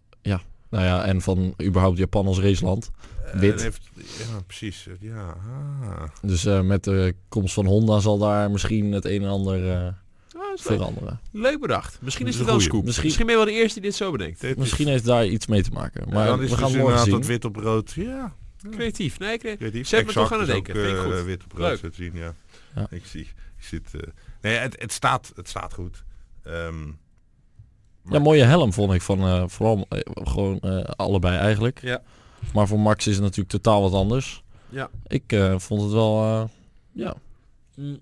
Nou ja, en van überhaupt Japan als raceland. Eh, Wit. het heeft- ja, precies. Eh, Ja. ah. Dus eh, met de komst van Honda zal daar misschien het een en ander eh, Ah, is leuk. veranderen. leuk bedacht. Misschien is Dat het wel een is een scoop. goeie. Misschien... Misschien- ben je wel de eerste die dit zo bedenkt. Dit is- Misschien heeft daar iets mee te maken. Ja, Maar dan we is gaan dus morgen inderdaad zien. dat wit op rood. Ja, Creatief. Nee, creatief. creatief. Zet me Exact toch aan het is denken. ook, Vind ik eh, goed. wit op Leuk. rood te zien, ja. Ja. Ik zie. Ik zit, eh, nee, het, het, staat, het staat goed. Ehm, Ja, mooie helm vond ik van eh, vooral eh, gewoon eh, allebei eigenlijk. Ja. Maar voor Max is het natuurlijk totaal wat anders. Ja. Ik eh, vond het wel... eh, ja, Mm.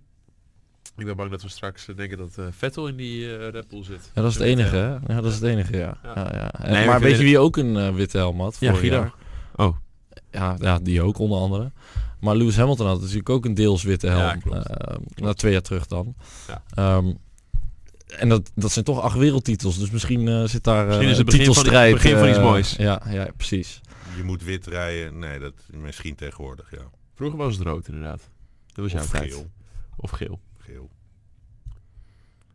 Ik ben bang dat we straks eh, denken dat eh, Vettel in die eh, Red Bull zit. Ja, dat is het Met, enige, eh, hè? Ja, dat is het enige, ja. Ja. ja. ja. En- Nee, maar maar ik weet je weet- wie ook een eh, witte helm had? Ja, vorig Guido. jaar? Oh. Ja, ja, die ook onder andere. Maar Lewis Hamilton had natuurlijk ook een deels witte helm. Ja, klopt. eh, na twee jaar terug dan. Ja. Ehm, en dat, dat zijn toch acht wereldtitels. Dus misschien eh, zit daar eh, Misschien is het een begin van- titelstrijd. begin van iets eh, moois. Ja, ja, precies. Je moet wit rijden. Nee, dat misschien tegenwoordig, ja. Vroeger was het rood inderdaad. Dat was jouw Of tijd. geel. Of geel. Geel.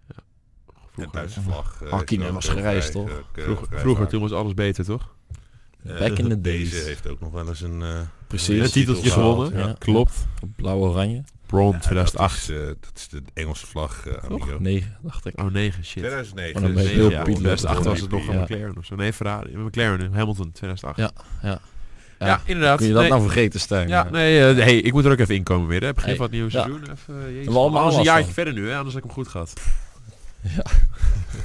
En Vroeger, Duitse vlag. eh, Hakkinen is ook was heel gereisd, vrij, toch? eh, k- vroeger, vrij vroeger vaak. toen was alles beter, toch? Eh, Back in the Deze days. heeft ook nog wel eens een... eh, Precies. Een titeltje gehaald, gewonnen. ja. Ja. Klopt. Blauw-oranje. Bron Ja, 2008. Dat is, eh, dat is de Engelse vlag, eh, Toch? amigo. Negen, dacht ik. Oh, 9, shit. 2009. Maar dan ben je Nee, Dus heel ja, piet- 2008 was het nog piet- een Ja. McLaren of zo. Nee, Ferrari. McLaren, en Hamilton 2008. Ja, ja. Ja, Ja, inderdaad. Kun je dat nee. nou vergeten, Stijn? ja, Eh, nee, eh, hey, ik moet er ook even inkomen weer. Hè. Begin Hey, van het nieuwe ja. seizoen. Even, eh, jezus. we allemaal Anders een last jaartje van. verder nu, hè, anders heb ik hem goed gehad. Ja.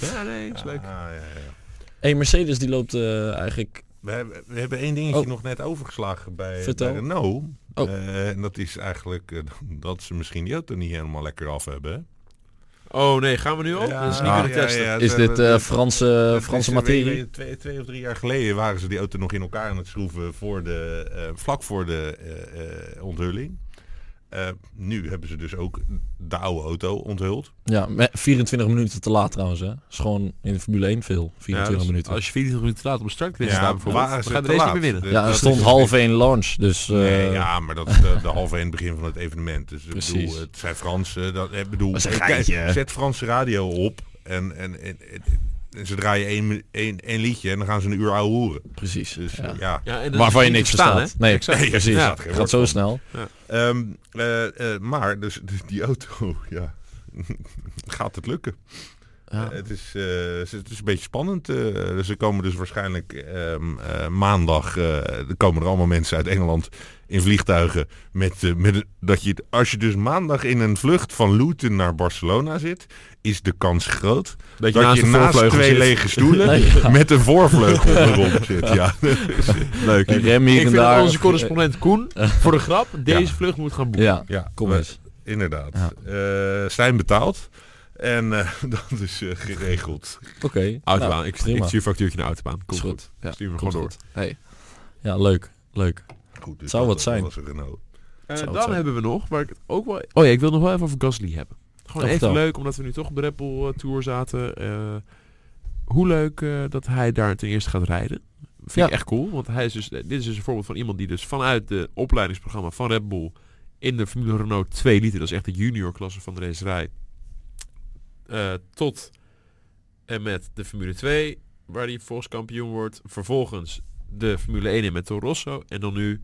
ja, nee, is leuk. Ah, ja, ja, ja. hey, Mercedes die loopt eh, eigenlijk We hebben, we hebben één dingetje Oh. nog net overgeslagen bij, Vertel. bij Renault. Oh. Eh, en dat is eigenlijk eh, dat ze misschien die auto niet helemaal lekker af hebben. Oh nee, gaan we nu op? dat is niet ja, kunnen testen. Is dit eh, Franse, Dat Franse is, eh, weet materie? je, Twee, twee of drie jaar geleden waren ze die auto nog in elkaar aan het schroeven voor de, eh, vlak voor de eh, eh, onthulling. Eh, nu hebben ze dus ook de oude auto onthuld. Ja, me- 24 minuten te laat trouwens. Hè. Is gewoon in de Formule 1 veel. Ja, 24 dus minuten. Als je 24 minuten te laat op de startgrid staat bijvoorbeeld, dan waren ze gaat de te race niet laat. meer winnen. Eh, ja, er dat stond is- half 1 launch. Dus eh, Nee, ja, maar dat is de, de half één begin van het evenement. Dus ik Precies. bedoel, het zijn Fransen. Dat, ik bedoel, Dat is een kijk, geintje, hè? zet Franse radio op en, en, en, en, en ze draaien één, één, één liedje en dan gaan ze een uur ouwe hoeren. precies. Dus ja. ja, Ja, en dat is Waarvan je niet niks te verstaan, verstaat. Nee, Exact. Nee, precies. ja, het geen gaat woord zo van. snel. Ehm, eh, eh, maar, dus d- die auto, ja. Gaat het lukken? Ja. Eh, het, is, eh, ze- het is een beetje spannend. eh, ze komen dus waarschijnlijk ehm, eh, maandag. eh, er komen er allemaal mensen uit Engeland in vliegtuigen. Met, eh, met een- dat je, als je dus maandag in een vlucht van Luton naar Barcelona zit, is de kans groot Dat dat je naast twee lege stoelen Nee, ja. met een voorvleugel erop zit. Ja. Dus, eh, Leuk. Die rem hier Ik en vind daar. dat onze correspondent Koen, voor de grap, deze vlucht moet gaan boeken. Ja, Ja, kom we- eens. Inderdaad. Ja. Eh, zijn betaald. Eh, En eh, dat is eh, geregeld. Oké. Autobaan. nou, ik, prima. ik stuur factuurtje naar Autobaan. Komt Is goed. goed. Ja, Stuur me komt gewoon door. goed. Hey. Ja, leuk. Leuk. Goed, dus Zou dat- wat zijn. Dat was Renault. Eh, Zou het dan zijn. hebben we nog, waar ik het ook wel... Oh ja, ik wil nog wel even over Gasly hebben. Gewoon Oh, even vertel. leuk, omdat we nu toch op de Red Bull, eh, Tour zaten. eh, hoe leuk eh, dat hij daar ten eerste gaat rijden. Vind Ja. ik echt cool, want hij is dus, dit is dus een voorbeeld van iemand die dus vanuit de opleidingsprogramma van Red Bull in de Formule Renault 2 liter, dat is echt de junior klasse van de racerij, eh, tot en met de Formule 2, waar hij volgens kampioen wordt. Vervolgens de Formule 1 in met Toro Rosso en dan nu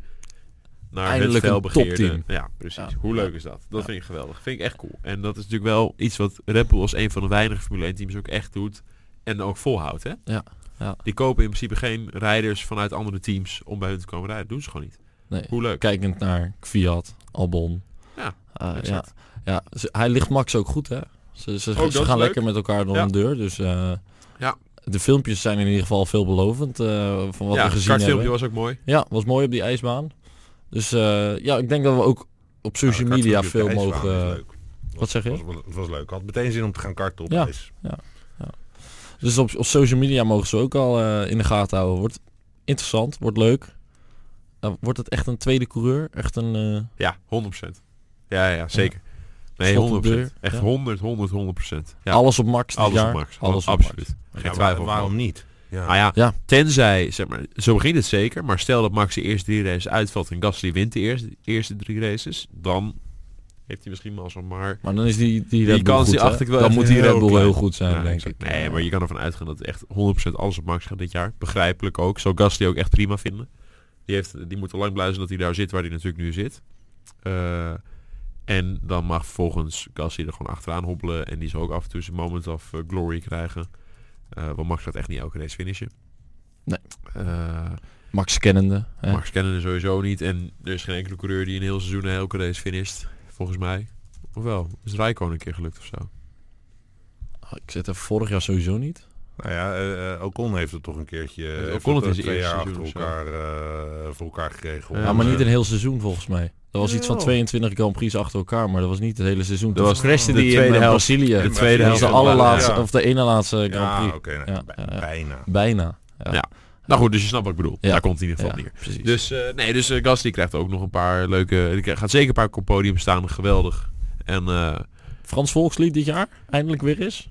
naar Eindelijk het een felbegeerde- topteam. Ja, precies. Ja. Hoe leuk is dat? Dat Ja. vind ik geweldig. Vind ik echt cool. En dat is natuurlijk wel iets wat Red Bull als een van de weinige Formule 1 teams ook echt doet en ook volhoudt. Hè? Ja, ja. Die kopen in principe geen rijders vanuit andere teams om bij hun te komen rijden. doen ze gewoon niet. Nee. Hoe leuk. Kijkend naar Fiat, Albon. Ja, Eh, ja. exact. ja ze- hij ligt Max ook goed, hè? Ze, ze, dat ze is gaan leuk. lekker met elkaar door Ja. een deur, dus... eh, Ja. De filmpjes zijn in ieder geval veelbelovend eh, van wat ja, we gezien kartfilmpje hebben. was ook mooi. Ja, was mooi op die ijsbaan. Dus eh, ja, ik denk dat we ook op social Ja, de media Nou, kartfilmpje op veel de ijsbaan mogen... is leuk. wat zeg je? Was, wel- het was leuk. Had meteen zin om te gaan karten op Ja. ijs. Dus op, op social media mogen ze ook al eh, in de gaten houden. Wordt interessant, wordt leuk. Eh, wordt het echt een tweede coureur? Echt een... eh, Ja, 100%. Ja, ja, zeker. Nee, Slot de 100%. deur, Echt ja. 100, 100, 100%. Ja, Alles op max dit alles jaar? op Max. Alles op Absoluut. max. Geen Ja, twijfel. waar- waarom niet? Ja. Nou ja, Ja. tenzij, zeg maar, zo begint het zeker. Maar stel dat Max de eerste drie races uitvalt en Gasly wint de eerste, eerste drie races, dan heeft hij misschien mazzel. Maar Maar dan is die, die Red Bull kans goed, die hè? acht ik wel Dan echt moet die heel Red Bull klein. heel goed zijn, Ja, denk ik. exact. Nee, maar je kan ervan uitgaan dat echt 100% alles op Max gaat dit jaar. Begrijpelijk ook. Zal Gasly ook echt prima vinden. Die, heeft, die moet al lang blij zijn dat hij daar zit waar hij natuurlijk nu zit. Eh, en dan mag volgens Gasly er gewoon achteraan hobbelen. En die zal ook af en toe zijn moment of eh, glory krijgen. Eh, want Max gaat echt niet elke race finishen. Nee. Eh, Max kennende. Hè? Max kennen er sowieso niet. En er is geen enkele coureur die een heel seizoen een elke race finisht. Volgens mij. Ofwel, is Rijkoon een keer gelukt of zo? Oh, Ik zit er vorig jaar sowieso niet. Nou ja, eh, eh, Ocon heeft het toch een keertje Ocon het heeft het, eh, in zijn twee eerste jaar achter seizoen of zo. elkaar eh, voor elkaar gekregen. Ja, Ja, om, maar eh, niet een heel seizoen volgens mij. Dat was iets van Jawel. 22 Grand Prix achter elkaar, maar dat was niet het hele seizoen. Dat Toen was crashte de die tweede in eh, helft. Brazilië. De Dat tweede was helft de van allerlaatste, ja. of de ene laatste Grand Ja, Prix. oké. nou, Ja, bij- ja, ja. Bijna. Bijna. Ja, Ja. Nou goed, dus je snapt wat ik bedoel. Ja. Daar komt het in ieder geval ja, neer. precies. Dus eh, nee, dus eh, Gasly krijgt ook nog een paar leuke. Die krijgt- gaat zeker een paar keer op het podium staan. Geweldig. En eh, Frans Volkslied dit jaar eindelijk weer is.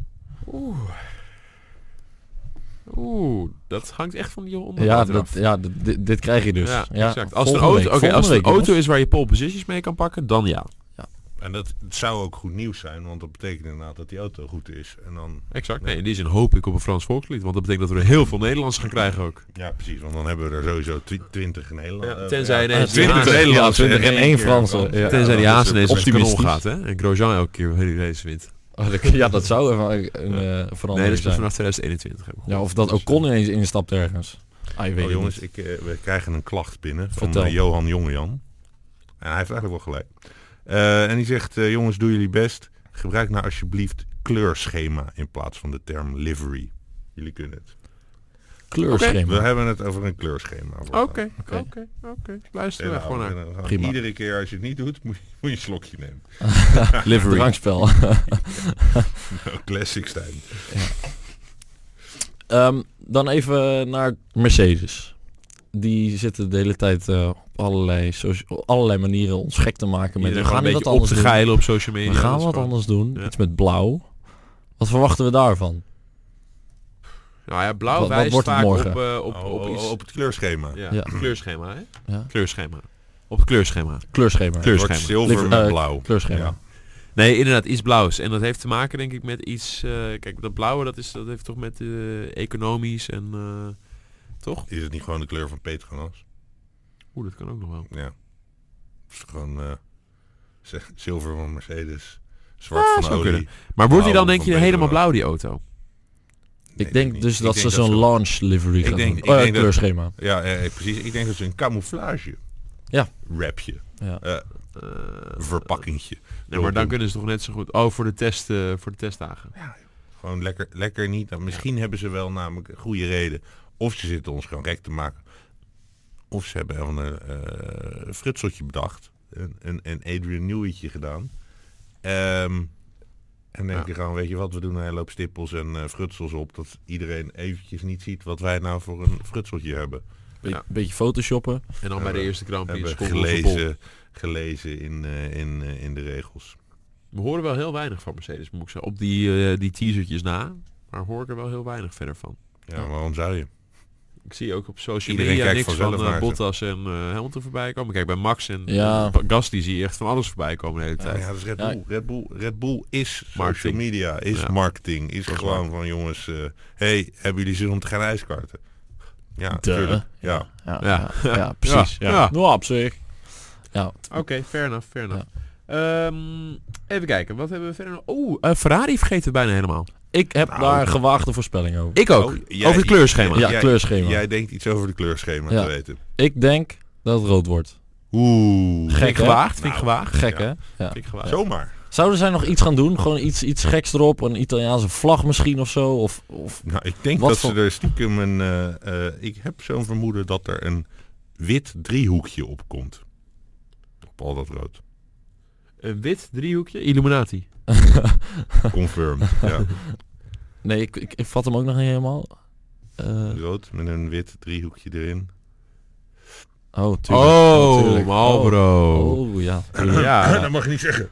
oeh, dat hangt echt van die onder. Ja, dat, ja d- dit, dit krijg je dus. ja, Ja, exact. Als er een volgende auto, week, oké, als er een volgende week, auto is waar je pole positions mee kan pakken, dan ja. En dat het zou ook goed nieuws zijn, want dat betekent inderdaad dat die auto goed is. En dan, Exact. Nee, in die zin hoop ik op een Frans volkslied, want dat betekent dat we er heel veel Nederlands gaan krijgen ook. ja precies, want dan hebben we er sowieso twi- twintig in Nederland. Ja, eh, tenzij ja, ineens twintig die Haas- Nederlanders ja, twintig en één keer Franse. Franse. Ja. Tenzij die dat Haas is ineens met optimistisch. kanon gaat, hè? En Grosjean elke keer heel die race wint. Oh, dat- Ja, dat zou even een eh, verandering Nee, dat is pas zijn. vanaf 2021. heb ik Ja, gehoord. of dat Dus, ook kon ineens instapt ergens. Ah, je weet Oh, het jongens, niet. ik, eh, we krijgen een klacht binnen van Vertel. eh, Johan Jongejan. En hij heeft eigenlijk wel gelijk. Eh, en die zegt, eh, jongens, doe jullie best. Gebruik nou alsjeblieft kleurschema in plaats van de term livery. Jullie kunnen het. Kleurschema. We hebben het over een kleurschema. eh, voortaan. Oké, Oké. oké, oké. Luister En er nou, gewoon naar. en dan gaan we Prima. Iedere keer als je het niet doet, moet je, moet je een slokje nemen. Livery. Drankspel. Nou, Classic stijl. Ehm, dan even naar Mercedes. Die zitten de hele tijd eh, op allerlei, socia- op allerlei manieren ons gek te maken. Met, Iedereen we gewoon gaan een nu beetje wat op anders te doen. geilen op social media. We gaan Dat is wat gewoon- anders doen. Ja. Iets met blauw. Wat verwachten we daarvan? Nou ja, blauw Wat- wat wijst wordt het vaak morgen? op, eh, op, Op, op iets. Oh, op het kleurschema. ja. Ja. Kleurschema, hè? Ja. Kleurschema. Op het kleurschema. Kleurschema. Kleur- Het wordt Kleurschema. zilver Liver- met eh, blauw. Kleurschema. Ja. Nee, inderdaad, iets blauws. En dat heeft te maken, denk ik, met iets... eh, kijk, dat blauwe, dat, is, dat heeft toch met eh, economisch en... eh, toch? Is het niet gewoon de kleur van Petronas? Oeh, dat kan ook nog wel. Ja. Het is gewoon eh, z- zilver van Mercedes. Zwart van Ah, zou Audi. kunnen. Maar wordt hij Blauw Oh, dan, denk van je, Beter helemaal wel. blauw, die auto? Nee, ik denk niet. dus Ik dat denk ze zo'n launch livery gaan denk- doen. ik Oh, ja, denk dat- kleurschema. Ja, eh, eh, precies. Ik denk dat ze een camouflage Ja. rapje, Ja. Eh, verpakkingje. nee, maar dan kunnen ze toch net zo goed... Oh, voor de, test, eh, voor de testdagen. Gewoon lekker, lekker niet. Nou, misschien hebben ze wel namelijk een goede reden. Of ze zitten ons gewoon gek te maken. Of ze hebben wel een eh, frutseltje bedacht. Een, een, een Adrian Neweytje gedaan. Ehm, En denk Ja. je gewoon, weet je wat, we doen een hele hoop stippels en eh, frutsels op. Dat iedereen eventjes niet ziet wat wij nou voor een frutseltje hebben. Be- Ja. Beetje photoshoppen. En dan bij de Hebben- eerste Grand Prix hebben is Condor van Pol. gelezen, gelezen in, eh, in, eh, in de regels. We horen wel heel weinig van Mercedes, moet ik zeggen. Op die, eh die teasertjes na. Maar hoor ik er wel heel weinig verder van. Ja, Ja. waarom zou je? Ik zie ook op social Iedereen media kijkt niks vanzelf van eh, naar ze. Bottas en eh Hamilton voorbij komen. Kijk, bij Max en Ja. Gast Gasly zie je echt van alles voorbij komen de hele Ja, tijd. ja, dat is Red Ja. Bull. Red Bull, Red Bull is social Marketing. media, is Ja. marketing. Is Dat is gewoon waar. van jongens, eh, hey, hebben jullie zin om te gaan ijskarten? Ja, Duh. tuurlijk. Ja. Ja, Ja. ja. ja, precies. Ja. Ja. Ja. Nou, op zich. Ja, t- Oké, fair enough, fair enough. Ehm, even kijken, wat hebben we verder nog? Oh, eh, Ferrari vergeten we bijna helemaal. ik heb Nou, daar een gewaagde voorspelling over. Ik ook. Oh, jij- Over het kleurschema. ja, jij- kleurschema. Jij denkt iets over de kleurschema Ja. te weten. Ik denk dat het rood wordt. Oeh. Gek, vind ik hè? gewaagd, vind ik Nou, gewaagd. Gek, Ja. hè? Ja. Vind ik gewaagd. Zomaar. Zouden zij nog iets gaan doen? Gewoon iets, iets geks erop? Een Italiaanse vlag misschien of zo? Of, of... Nou, ik denk Wat dat voor- ze er stiekem een... eh, eh, ik heb zo'n vermoeden dat er een wit driehoekje op komt. Op al dat rood. Een wit driehoekje, Illuminati. Confirmed. ja. Nee, ik, ik, ik vat hem ook nog niet helemaal. Eh, Rood met een wit driehoekje erin. oh, tuurlijk. tuurlijk. Marlboro. Oh, oh, ja. tuurlijk. Ja, mag je niet zeggen.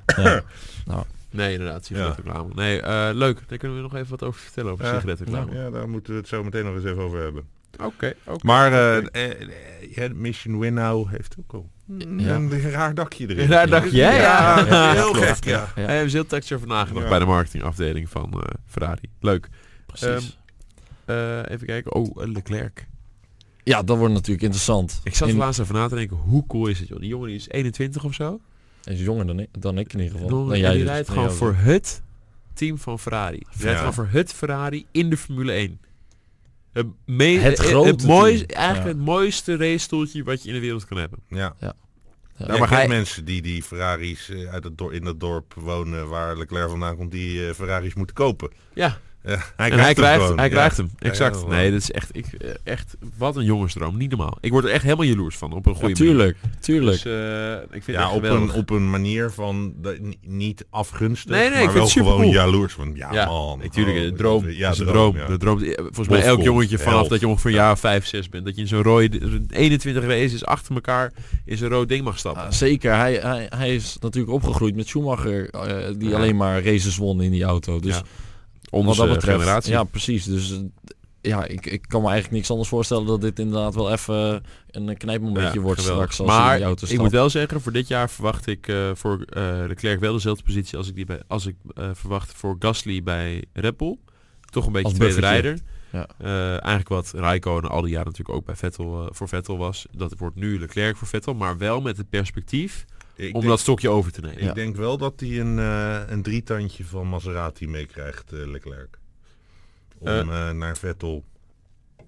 Ja. nee, inderdaad, sigarettenreclame. Nee, eh, leuk. Daar kunnen we nog even wat over vertellen, over Ja. sigarettenreclame. Ja, daar moeten we het zo meteen nog eens even over hebben. Oké, oké. Maar eh, eh, eh, ja, Mission Winnow heeft ook al Ja. een raar dakje erin. Een raar dakje, ja. hè? Ja. Ja, heel klopt. gek, ja. Hij heeft heel tactisch over nagedacht Ja. bij de marketingafdeling van eh, Ferrari. Leuk. Precies. Ehm. Eh, even kijken. Oh, eh, Leclerc. ja, dat wordt natuurlijk interessant. Ik zat In- er laatst even na te denken, hoe cool is het joh. Die jongen die is 21 of zo. Hij is jonger dan ik, dan ik in ieder geval. En dan- Dan en jij die dus. rijdt Dan gewoon jou voor dus. het team van Ferrari. Die rijdt Ja. gewoon voor het Ferrari in de Formule 1. Het, me- Het eh, grote het mooiste, team. Eigenlijk Ja. het mooiste racestoeltje wat je in de wereld kan hebben. Ja. Ja. Ja, maar geen mensen die die Ferraris eh, uit het dor- in dat dorp wonen waar Leclerc vandaan komt, die eh, Ferraris moeten kopen. Ja, Ja, hij en hij hem krijgt, gewoon, hij ja. krijgt hem. Exact. Ja, nee, dat is echt, ik, eh, echt, wat een jongensdroom. Niet normaal. Ik word er echt helemaal jaloers van op een goede manier. tuurlijk, tuurlijk. Dus, eh, ik vind het Ja, echt op geweldig. een, op een manier van de- ni- niet afgunstig, Nee, nee, ik maar vind wel het supercool. gewoon jaloers. Van, ja, Ja, man. Natuurlijk, oh, de droom. Ja, Ja, is een droom. ja. De droom. eh, Volgens mij elk Wolfskamp, jongetje vanaf elf. dat je ongeveer een Ja. jaar 5, 6 bent. Dat je in zo'n rode 21 races achter elkaar in zo'n rood ding mag stappen. Ah, zeker, hij, hij, hij is natuurlijk opgegroeid met Schumacher, eh, die Ja. alleen maar races won in die auto. Dus Ja, wat Onze dat betreft, generatie. ja precies. Dus eh, d- ja, ik, ik kan me eigenlijk niks anders voorstellen dat dit inderdaad wel even een knijpmomentje Ja, wordt geweldig. straks als hij in die auto maar stapt. ik moet wel zeggen, voor dit jaar verwacht ik eh, voor eh Leclerc wel dezelfde positie als ik die bij, als ik eh, verwacht voor Gasly bij Red Bull. Toch een beetje Als tweede buffertje. rijder. Ja. Eh, eigenlijk wat Raikkonen al die jaren natuurlijk ook bij Vettel eh, voor Vettel was. Dat wordt nu Leclerc voor Vettel, maar wel met het perspectief Ik om denk- dat stokje over te nemen. Ik denk wel dat hij een, eh, een drietandje van Maserati meekrijgt, eh, Leclerc. Om Eh. eh, naar Vettel.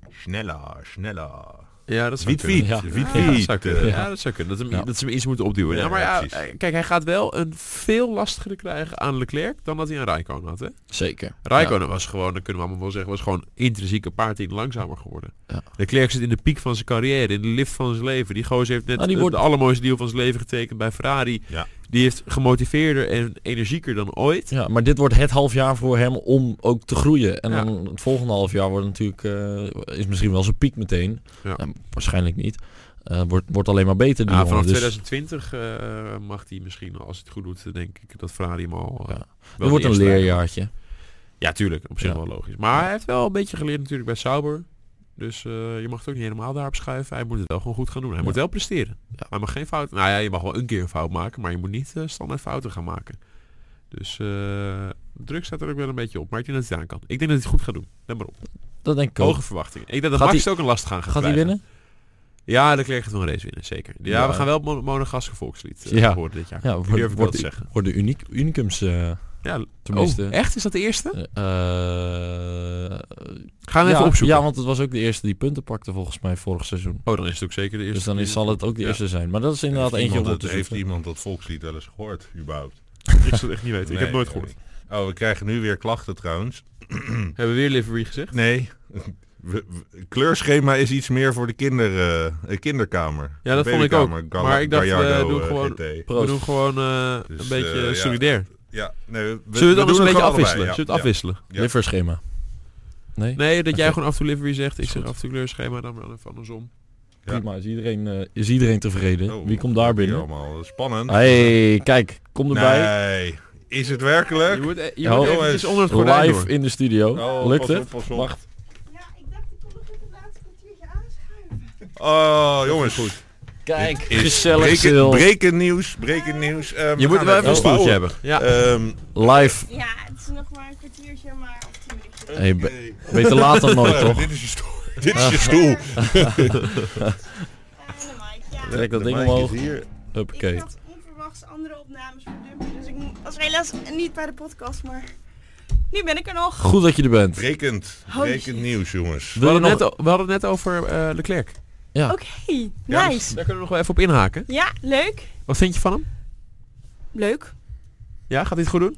Sneller, sneller. Ja, dat zou Wiet, kunnen. wiet, Ja. wiet, Ja, dat wiet. zou kunnen. Eh, Ja, dat zou kunnen. Dat, hem, Ja. dat ze hem iets moeten opduwen. Ja, Ja, maar ja, precies. eh, kijk, hij gaat wel een veel lastiger krijgen aan Leclerc dan dat hij aan Raikkonen had. Hè? Zeker. Raikkonen was gewoon, dat kunnen we allemaal wel zeggen, was gewoon intrinsiek een paar tien langzamer geworden. Ja. Leclerc zit in de piek van zijn carrière, in de lift van zijn leven. Die gozer heeft net Nou, die wordt- het allermooiste deal van zijn leven getekend bij Ferrari. Ja. Die heeft gemotiveerder en energieker dan ooit. Ja. ja, maar dit wordt het half jaar voor hem om ook te groeien. En Ja. dan het volgende half jaar wordt natuurlijk, eh, is misschien wel zijn piek meteen. Ja. Eh, waarschijnlijk niet. Eh, wordt, wordt alleen maar beter die Ja, jongen, Nou, vanaf dus- 2020 eh, mag hij misschien, als hij het goed doet, denk ik dat Ferrari hem al... eh, Ja. wel Er wordt de een eerste rijder maakt. leerjaartje. Ja, tuurlijk. Op zich Ja. wel logisch. Maar hij heeft wel een beetje geleerd natuurlijk bij Sauber. Dus eh, je mag het ook niet helemaal daarop schuiven. Hij moet het wel gewoon goed gaan doen. Hij Ja. moet wel presteren. Ja. Hij mag geen fout. Nou ja, je mag wel een keer een fout maken, maar je moet niet eh, standaard fouten gaan maken. Dus eh, druk staat er ook wel een beetje op. Maar ik denk dat hij het aan kan. Ik denk dat hij het goed gaat doen. Let maar op. Dat denk ik ook. Hoge verwachtingen. Ik denk dat Max Gaat hij- het ook een last gaan gaat Gaat hij krijgen. winnen? Ja, de Klerk gaat wel een race winnen, zeker. Ja, Ja. we gaan wel mon- monegaske volkslied eh, Ja. horen dit jaar. Ja, ik durf wordt ik wel wordt te de, zeggen. wordt de uniek, unicums eh, Ja, tenminste. oh, echt? Is dat de eerste? Eh, eh, Gaan we ja, even opzoeken. Ja, want het was ook de eerste die punten pakte volgens mij vorig seizoen. Oh, dan is het ook zeker de eerste. Dus dan die- is, zal het ook de Ja. eerste zijn. Maar dat is inderdaad heeft eentje om iemand op te dat, Heeft zoeken. iemand dat volkslied wel eens gehoord, überhaupt? Ik zal het echt niet weten. ik Nee, heb nooit eh, gehoord. Oh, we krijgen nu weer klachten trouwens. Hebben we weer livery gezegd? Nee. we- we- kleurschema is iets meer voor de kinder, eh, eh, kinderkamer. Ja, dat vond ik ook. Babykamer, Gala- maar ik dacht, we Gallardo, doen eh, gewoon- GT. We doen gewoon eh, Dus, een beetje eh, ja. solidair. Ja, nee, we, we Zullen we het doen anders een beetje afwisselen? gewoon allebei, Zullen we ja. het afwisselen? Ja. Liverschema. Nee? Nee, dat jij Oké. gewoon af en toe livery zegt. Ik Is zeg goed. af en toe kleurschema, dan maar even andersom. Ja. Prima, is iedereen, eh, is iedereen tevreden? Ja. Oh, Wie komt daar binnen? hier Allemaal. Spannend. hey, kijk, kom erbij. Nee, is het werkelijk? Je moet, eh, je Oh, moet jongens. eventjes onder het gordijn Live door. in de studio. Oh, Lukt pas het? op, pas op. Wacht. Ja, ik dacht ik kon nog even het laatste kwartiertje Oh, aanschuiven. jongens. Kijk, Dit is gezellig breken, stil. breken nieuws, breken nieuws. Eh, we Je moet gaan wel even een opbouwen. stoeltje hebben. Ja. Ehm, Live. Ja, het is nog maar een kwartiertje, maar of tien minuutjes. Eh, Hey, be- oké. beter laat dan nooit, Eh, toch? Dit is je stoel. dit is je stoel. En de mic, ja. Trek dat De ding mic is omhoog. hier. Ik Huppakee. had onverwachts andere opnames voor Dumpy, dus ik mo- was helaas niet bij de podcast, maar nu ben ik er nog. Goed dat je er bent. Brekend, Holy brekend shit. nieuws, jongens. We Wil je hadden, nog... net, o- we hadden het net over eh Leclerc. Oké, Ja, dus nice. Daar kunnen we nog wel even op inhaken. Ja, leuk. Wat vind je van hem? Leuk. Ja, gaat hij het goed doen?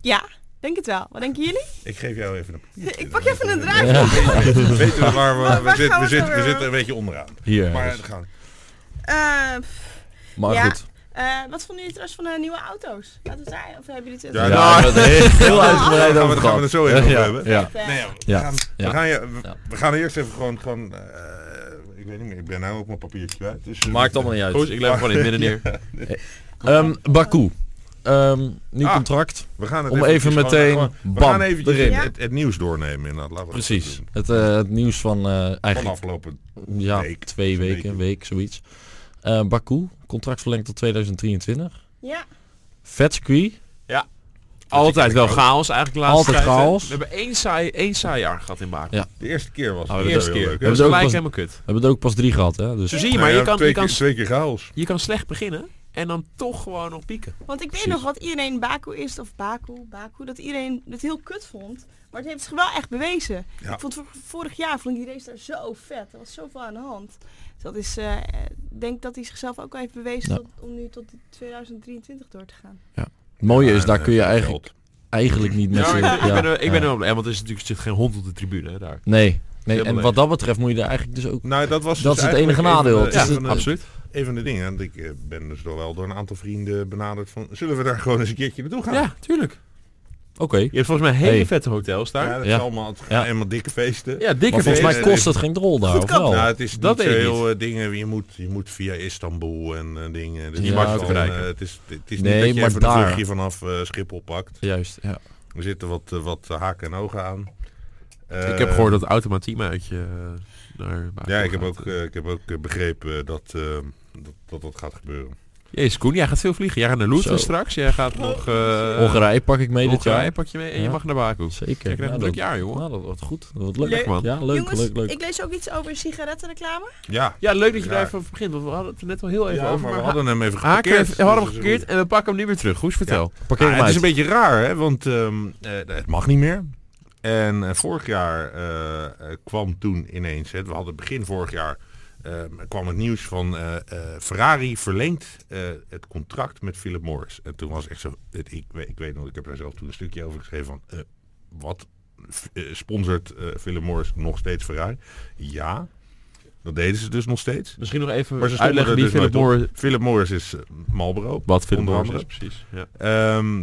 Ja, denk het wel. Wat denken jullie? Ik eh, geef jou even een papiertje. Ik pak even een draadje. Ja, Weten we waar we, Waar- we, waar zitten, gaan we, we zitten, we door? zitten een beetje onderaan. Hier. Maar Maar, we gaan. Eh, Ja. goed. eh, wat vonden jullie trouwens van de nieuwe auto's? Laten we het daar, of hebben jullie het... Ja, Ja, nou, we hebben het heel gaan uitgebreid we- over gaan we gehad. het Oh, zo even over Ja, hebben. Ja. Eh, Nee, ja, we, Ja. Gaan, Ja. We, gaan, je- we, Ja. we gaan eerst even gewoon... gewoon eh, ik weet niet meer, ik ben nou ook mijn papiertje kwijt. Dus, eh, Maakt allemaal niet uit. Goed, ik leg hem gewoon in het midden neer. Ehm, Baku. Ehm, nieuw Ah. contract. we gaan het Om even eventjes meteen, gewoon- gewoon- we bam, gaan eventjes erin. het, het nieuws doornemen inderdaad. Laten we dat Precies. doen. Het, eh, het nieuws van eh, Van eigenlijk afgelopen... ja, week, twee een weken, week. een week, zoiets. Eh, Baku, contract verlengd tot 2023. ja, Vet circuit. Altijd wel chaos eigenlijk de laatste Altijd tijd, hè. chaos. We hebben één saai, één saai jaar gehad in Baken. Ja, De eerste keer was Oh, het de eerste heel keer. Dat leuk, Hebben hè? was ze ook gelijk pas- helemaal kut. We hebben er ook pas drie gehad, hè? Dus Zo zie je Nou maar, ja, je kan, twee, je, kan, keer, twee keer chaos. je kan slecht beginnen en dan toch gewoon nog pieken. want ik weet Precies. nog wat iedereen Baku is, of Baku, Baku, dat iedereen het heel kut vond. Maar het heeft zich wel echt bewezen. Ja. Ik vond vor- vorig jaar vond ik die race daar zo vet. Er was zoveel aan de hand. Dus dat is, eh, ik denk dat hij zichzelf ook al heeft bewezen Ja. tot- om nu tot die 2023 door te gaan. Het mooie is, Ja, daar en, kun je eh, eigenlijk, geld. eigenlijk niet met Ja, z'n... maar ik, ben er, ik ben ja. er wel blij, want er is natuurlijk, zit geen hond op de tribune hè, daar. Nee. nee. Helemaal En leeg. wat dat betreft moet je er eigenlijk dus ook... Nou, dat was Dat dus is het enige eigenlijk nadeel. Een, van de- Het is een het- van de- Absoluut. een van de dingen. Want ik eh, ben dus door wel door een aantal vrienden benaderd van... Zullen we daar gewoon eens een keertje naartoe gaan? Ja, tuurlijk. Oké. Je hebt volgens mij hele Hey. vette hotels daar. Ja, Ja, dat Ja. is allemaal het- Ja. helemaal dikke feesten. dikke Maar volgens feest. mij kost het geen drol daar, of Goedkoop. wel? Nou, het is Dat niet zo weet ik heel eh, dingen. Je moet, je moet via Istanbul en eh, dingen. Dus Die het markt is al, bereiken. eh, Het is, het is Nee, niet dat je maar even een daar. vluchtje vanaf eh, Schiphol pakt. Juist, ja. Er zitten wat, eh, wat haken en ogen aan. Eh, Ik heb gehoord dat Automatima uit je eh, naar Baku Ja, ik heb gaat. ook, eh, ik heb ook eh, begrepen eh, dat, eh, dat, dat dat gaat gebeuren. Jezus Koen, jij gaat veel vliegen. Jij gaat naar Luton Zo. straks. Jij gaat nog... eh Hongarije pak ik mee dit Hongarije jaar. pak je mee en je Ja. mag naar Baku. Zeker. Je krijgt een Nou, druk dat, jaar, jongen. nou, dat wordt goed. Dat wordt leuk. Leuk. man. Ja, leuk, Jongens, leuk, leuk. ik lees ook iets over sigarettenreclame. Ja, Ja, leuk dat je daar Raar. even over begint, want we hadden het er net al heel even ja over. maar we maar hadden hem even ha- haken geparkeerd. even- we hadden hem Dus gekeerd en we pakken hem nu weer terug. Goed, vertel. Parkeer Ah, hem het is uit. een beetje raar, hè? want ehm, eh, het mag niet meer. En eh, vorig jaar eh, eh, kwam toen ineens, hè, we hadden begin vorig jaar, ehm, kwam het nieuws van eh, eh, Ferrari verlengt eh, het contract met Philip Morris. En toen was echt zo, het, ik, weet- ik weet nog, ik heb daar zelf toen een stukje over geschreven van, eh, wat F- eh, sponsort eh, Philip Morris nog steeds Ferrari? Ja, dat deden ze dus nog steeds. Misschien nog even Maar ze stonden uitleggen er wie dus Philip nooit op. Morris... Philip Morris is eh, Marlboro. Wat Philip Onder Morris is, andere. precies. Ja. Ehm,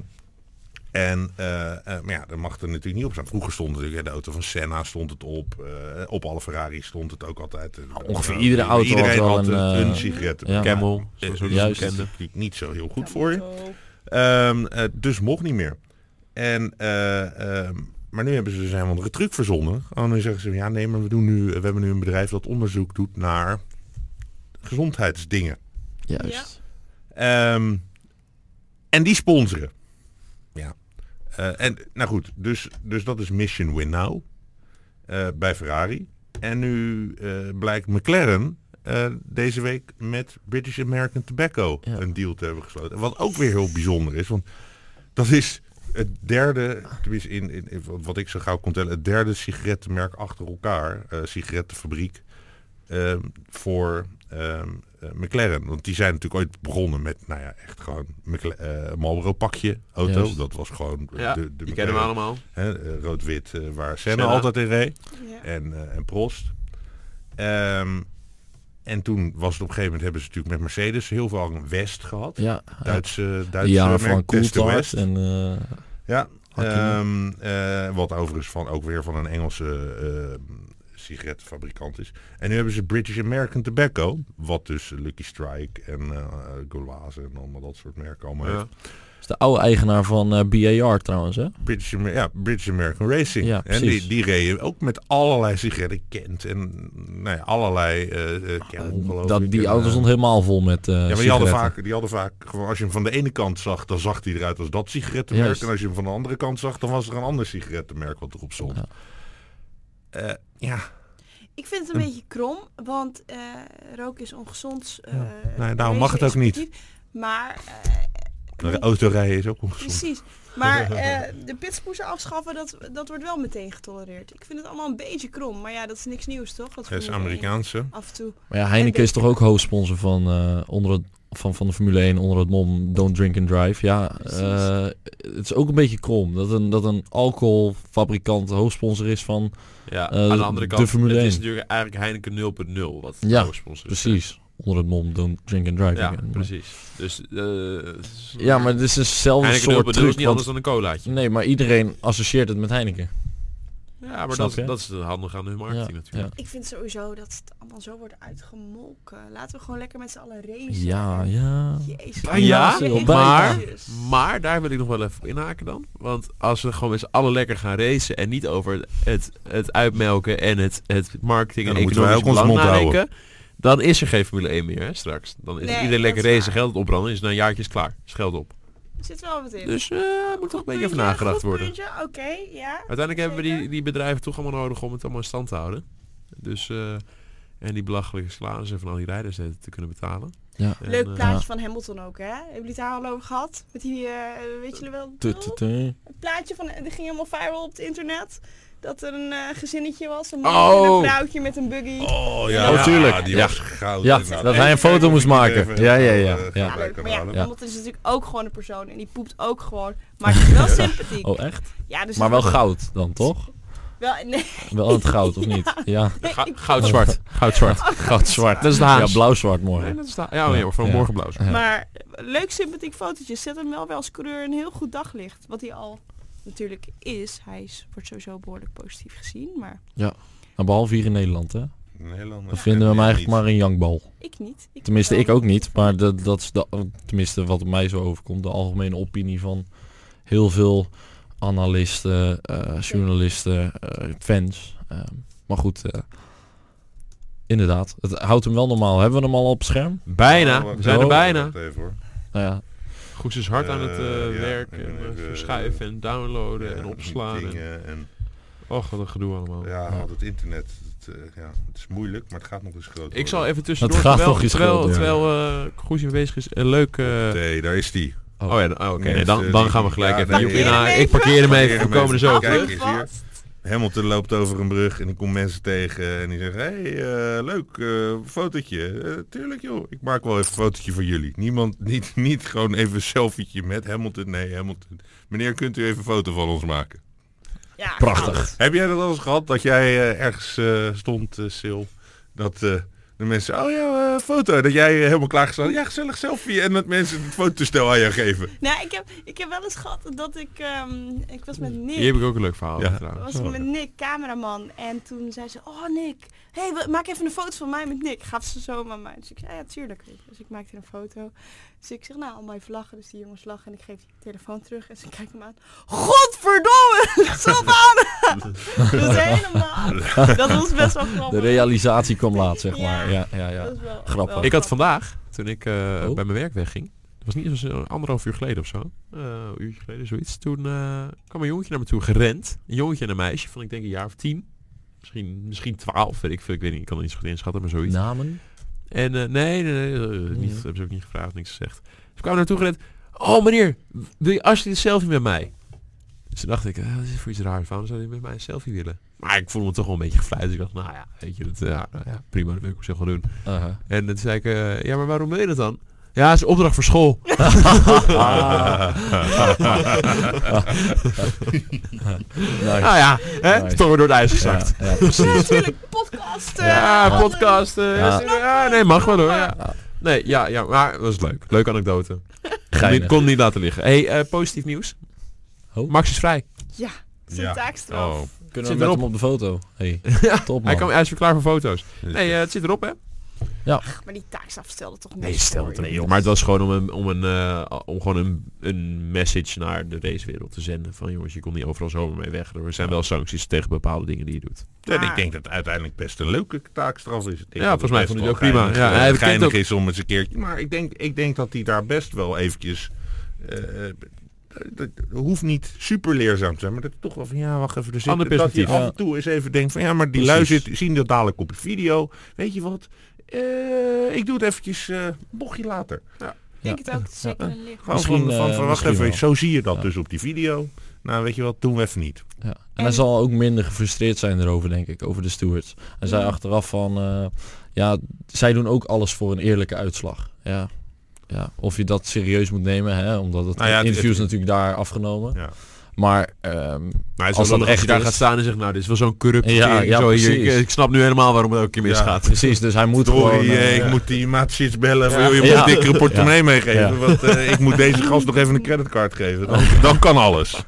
en, eh, eh, maar ja, dat mag er natuurlijk niet op staan. Vroeger stond natuurlijk, hè, de auto van Senna stond het op. eh, op alle Ferraris stond het ook altijd. Nou, ongeveer Eh, iedere auto had Iedereen wel had een, een, eh, een sigaret. ja. Eh, Camel, zoals we die juist. kenden. natuurlijk niet zo heel goed voor je. Zo. Ehm, eh, dus mocht niet meer. En, eh, ehm, maar nu hebben ze dus een of andere truc verzonnen. En dan zeggen ze, ja nee, maar we, doen nu, we hebben nu een bedrijf dat onderzoek doet naar gezondheidsdingen. Juist. Ehm, en die sponsoren. Ja. Eh, en, nou goed, dus, dus dat is Mission Win Now eh, bij Ferrari. En nu eh, blijkt McLaren eh, deze week met British American Tobacco Ja. een deal te hebben gesloten. Wat ook weer heel bijzonder is, want dat is het derde, tenminste in, in, in wat- wat ik zo gauw kon tellen, het derde sigarettenmerk achter elkaar, eh, sigarettenfabriek, ehm, voor ehm, eh, McLaren. Want die zijn natuurlijk ooit begonnen met, nou ja, echt gewoon McLa- eh, Marlboro pakje auto. Juist. Dat was gewoon Ja, de, de Die kennen we McLaren, allemaal. hè, eh, rood-wit, eh, waar Senna, Senna. altijd in reed Ja. en, eh, en Prost. eh, Ehm, En toen was het op een gegeven moment hebben ze natuurlijk met Mercedes heel veel aan West gehad. Ja, Duitse, die Duitse jaren merk van Test de Coulthard West. en eh, Ja, Hakkinen. ehm, eh, wat overigens van, ook weer van een Engelse ehm sigarettenfabrikant is. En nu hebben ze British American Tobacco, wat dus Lucky Strike en eh Golaze en allemaal dat soort merken allemaal heeft. Ja. is de oude eigenaar van eh, BAR trouwens, hè? British, Amer- ja, British American Racing. Ja, en precies. die, die reden ook met allerlei sigaretten kent en nou ja, allerlei eh eh, kernongeloof Dat, ik. die En, auto eh, stond helemaal vol met eh ja, maar die hadden, sigaretten. vaak, die hadden vaak, gewoon als je hem van de ene kant zag, dan zag hij eruit als dat sigarettenmerk. Juist. En als je hem van de andere kant zag, dan was er een ander sigarettenmerk wat erop stond. Ja. Eh, ja, Ik vind het een beetje krom, want eh, roken is ongezond. eh, Nee, daarom mag het ook racen is niet. sportief, Maar... eh, maar autorijden is ook ongezond. Precies. Maar eh, de pitspoezen afschaffen, dat, dat wordt wel meteen getolereerd. Ik vind het allemaal een beetje krom. Maar ja, dat is niks nieuws, toch? Dat Het is Formule één Amerikaanse. Af en toe. Maar ja, Heineken En is toch ook hoofdsponsor van, eh, onder het, van, van de Formule 1 onder het mom Don't Drink and Drive. Ja, Precies. eh, het is ook een beetje krom dat een, dat een alcoholfabrikant hoofdsponsor is van... Ja, Eh, aan de andere kant, de Formule het is 1. natuurlijk eigenlijk Heineken 0.0 wat Ja, de sponsor is. Dus, eh, Precies, onder het mom Don't Drink and Drive. Ja, Maar- precies. Dus eh Ja, maar het is hetzelfde Heineken 0.0 soort is niet truc. want- anders dan een colaatje. Nee, maar iedereen associeert het met Heineken. Ja, maar Snap dat, je? dat is handig aan hun marketing Ja, natuurlijk. Ik vind sowieso dat het allemaal zo wordt uitgemolken. Laten we gewoon lekker met z'n allen racen. Ja, ja. Jezus. Ah, ja, Jezus. maar, Jezus. maar daar wil ik nog wel even op inhaken dan. Want als we gewoon eens alle lekker gaan racen en niet over het, het uitmelken en het, het marketing Ja, en dan moeten wij economisch ook onze belang mond nadenken, dan is er geen Formule 1 meer hè, straks. Dan is Nee, iedereen lekker dat is racen, waar. geld opbranden, is na een jaartje is klaar. Is geld op. Er zit wel wat in. Dus eh moet toch een beetje over Puntje, nagedacht goed worden. puntje, Oké, ja. Uiteindelijk hebben we Zeker. die, die bedrijven toch allemaal nodig om het allemaal in stand te houden. Dus, eh, en die belachelijke salarissen van al die rijders eh, te kunnen betalen. Ja. En, Leuk eh, plaatje Ja. van Hamilton ook, hè? Hebben jullie het daar al over gehad? Met die, eh, weet jullie wel? Tu, tu, tu. Het plaatje van, er ging helemaal viral op het internet. Dat er een eh, gezinnetje was, een Oh. man en een vrouwtje met een buggy. Oh ja. Oh, tuurlijk. die Ja. was goud. Ja, inderdaad. dat hij een foto moest maken. Even- Ja, ja, ja. eh, Ja. Ja, leuk, maar ja, halen. iemand is natuurlijk ook gewoon een persoon en die poept ook gewoon. Maar het is wel sympathiek. Oh, echt? Ja, dus Maar wel goud dan, toch? Wel, nee, Wel aan het goud, of niet? Ja. Ga- Goudzwart. Goudzwart. Goud-zwart. Dat is de Ja, Haas. blauw-zwart mooi. Nee, dat is de- ja, oh, nee, Ja. hoor, van Ja. morgen blauw. Ja. Maar eh, leuk sympathiek fotootje. Zet hem wel wel als coureur een heel goed daglicht. Wat hij al natuurlijk is. Hij is, wordt sowieso behoorlijk positief gezien, maar Nou, behalve hier in Nederland, hè? Nederland- Dan vinden we hem eigenlijk maar een jankbal. ik niet. Ik Tenminste, wel. ik ook niet. Maar dat, dat is de, tenminste wat mij zo overkomt. De algemene opinie van heel veel analisten, eh, journalisten, eh, fans. Ehm, maar goed, eh, inderdaad. Het houdt hem wel normaal. Hebben we hem al op het scherm? Bijna. We zijn er Oh. bijna. Wacht even hoor. Nou ja, Goed is hard aan het eh, Eh, ja, werken. ik ben en, eh, even, verschuiven en downloaden Ja, en opslaan. En, dingen en- och, wat een gedoe allemaal. Ja, al het internet. Het, eh, ja, het is moeilijk, maar het gaat nog eens groot Ik zal worden. even tussendoor, gaat terwijl, nog eens terwijl, groter. terwijl eh, Goesje bezig is, een leuk... eh, Nee, daar is die. oh ja, oh, oké. Nee, nee, dan, eh, dan die- gaan we gelijk ja, even nee, hierop ja. inhaken. Ik Nee, parkeer hem parkeer even. We hem komen er even. zo op Kijk terug. eens hier. Hamilton loopt over een brug en ik kom mensen tegen en die zeggen, hé, hey, eh, leuk, eh, fotootje. Eh, tuurlijk joh, ik maak wel even een fotootje voor jullie. Niemand, niet, niet gewoon even een selfietje met Hamilton. Nee, Hamilton. Meneer, kunt u even een foto van ons maken? Ja, prachtig. Heb jij dat al eens gehad, dat jij eh, ergens eh, stond, eh Sil, dat... eh, de mensen, oh ja, eh, foto. Dat jij eh, helemaal klaargestaan. Ja, gezellig selfie. En dat mensen het fotostel aan je geven. Nou, ik heb, ik heb wel eens gehad dat ik... ehm, ik was met Nick. Hier heb ik ook een leuk verhaal Ja. over was Oh. trouwens. ik met Nick, cameraman. En toen zei ze, oh Nick, hey, wa- maak even een foto van mij met Nick. Gaf ze zo aan mij. Dus ik zei, ja, tuurlijk. Dus ik maakte een foto. Dus ik zeg, nou, al mijn vlaggen. Dus die jongens lachen. En ik geef die telefoon terug. En ze kijkt me aan. Godverdomme, Savannah! dus helemaal. Dat was best wel de grappig. realisatie kwam laat, zeg Ja. maar. Ja, ja, ja. Dat is wel- Grappig. wel Oh. Ik had vandaag, toen ik eh, bij mijn werk wegging, dat was niet eens een anderhalf uur geleden of zo, eh, een uurtje geleden, zoiets. Toen eh, kwam een jongetje naar me toe gerend, een jongetje en een meisje van ik denk een jaar of tien, misschien, misschien twaalf, weet ik veel, ik weet niet, ik kan het niet zo goed inschatten, maar zoiets. Namen? En eh, nee, nee, nee, eh, niet, Ja. hebben ze ook niet gevraagd, niks gezegd. Ze kwamen naartoe gerend. Oh meneer, wil je alsjeblieft een selfie met mij? Dus toen dacht ik, eh, wat is dit voor iets raars? Waarom zou je met mij een selfie willen? Maar ik voelde me toch wel een beetje gefluit. Dus ik dacht, nou ja, weet je, dat, eh, ja, nou ja, prima, dat wil ik op zich wel doen. Aha. En toen zei ik, eh, ja, maar waarom wil je dat dan? Ja, is een opdracht voor school. Nice. Nou ja, hè? Nice. Toch weer door het ijs gezakt. Ja, ja, precies. Ja, natuurlijk, podcast. eh, Ja, alle- podcast. eh, Ja. is- ja, nee, mag wel hoor. Ja. Nee, ja, ja, maar dat was leuk. Leuke anekdote. Kon Geinig. niet, kon niet laten liggen. Hey, eh, positief nieuws. Oh. Max is vrij. Ja, Ja. zijn taakstraf. Oh, Kunnen we Zit met erop. hem op de foto? Hey, Ja, top man. Hij, kan, hij is weer klaar voor foto's. dus Nee, eh, het zit erop hè? Maar die taakstraf stelde toch niet. Maar het was gewoon om een, om een, eh, om gewoon een, een message naar de racewereld te zenden. Van jongens, je komt niet overal zomaar mee weg. Er zijn wel sancties tegen bepaalde dingen die je doet. En ik Maar- denk dat het uiteindelijk best een leuke taakstraf is. Ik denk Ja, dat volgens mij best vond ik wel het ook prima. Geinig, Ja, eh, hij kent geinig ook- is om eens een keertje. Maar ik denk, ik denk dat hij daar best wel eventjes... eh, dat hoeft niet super leerzaam te zijn, maar dat toch wel van ja, wacht even. Er zit, Ander dat je perspectief. af en toe eens even denkt van ja, maar die lui Precies. zit, zien dat dadelijk op de video. Weet je wat? Eh, ik doe het eventjes eh bochtje later. Ik denk het ook. het is Zeker een licht. Gewoon Misschien, van, van, eh, van, wacht misschien even, wel. zo zie je dat Ja. dus op die video. Nou, weet je wat, doen we even niet. Ja. En, hij zal ook minder gefrustreerd zijn erover, denk ik, over de stewards. Hij zei achteraf van, eh, ja, zij doen ook alles voor een eerlijke uitslag. Ja. Ja. Of je dat serieus moet nemen, hè, omdat het Nou ja, het- interview is het- natuurlijk daar afgenomen. Ja. Maar ehm, Maar het Als is wel dat lullig als je echt daar is. gaat staan en zegt, nou dit is wel zo'n corrupt Ja, regering, ja, zo hier, precies. ik, ik snap nu helemaal waarom het elke keer Ja. misgaat. precies, dus hij moet Sorry, gewoon... eh, eh, ik ja. moet die maatjes bellen. Wil je me Ja. een dikkere portemonnee meegeven? Ja. Want eh, ik moet deze gast nog even een creditcard geven. Dan, dan kan alles.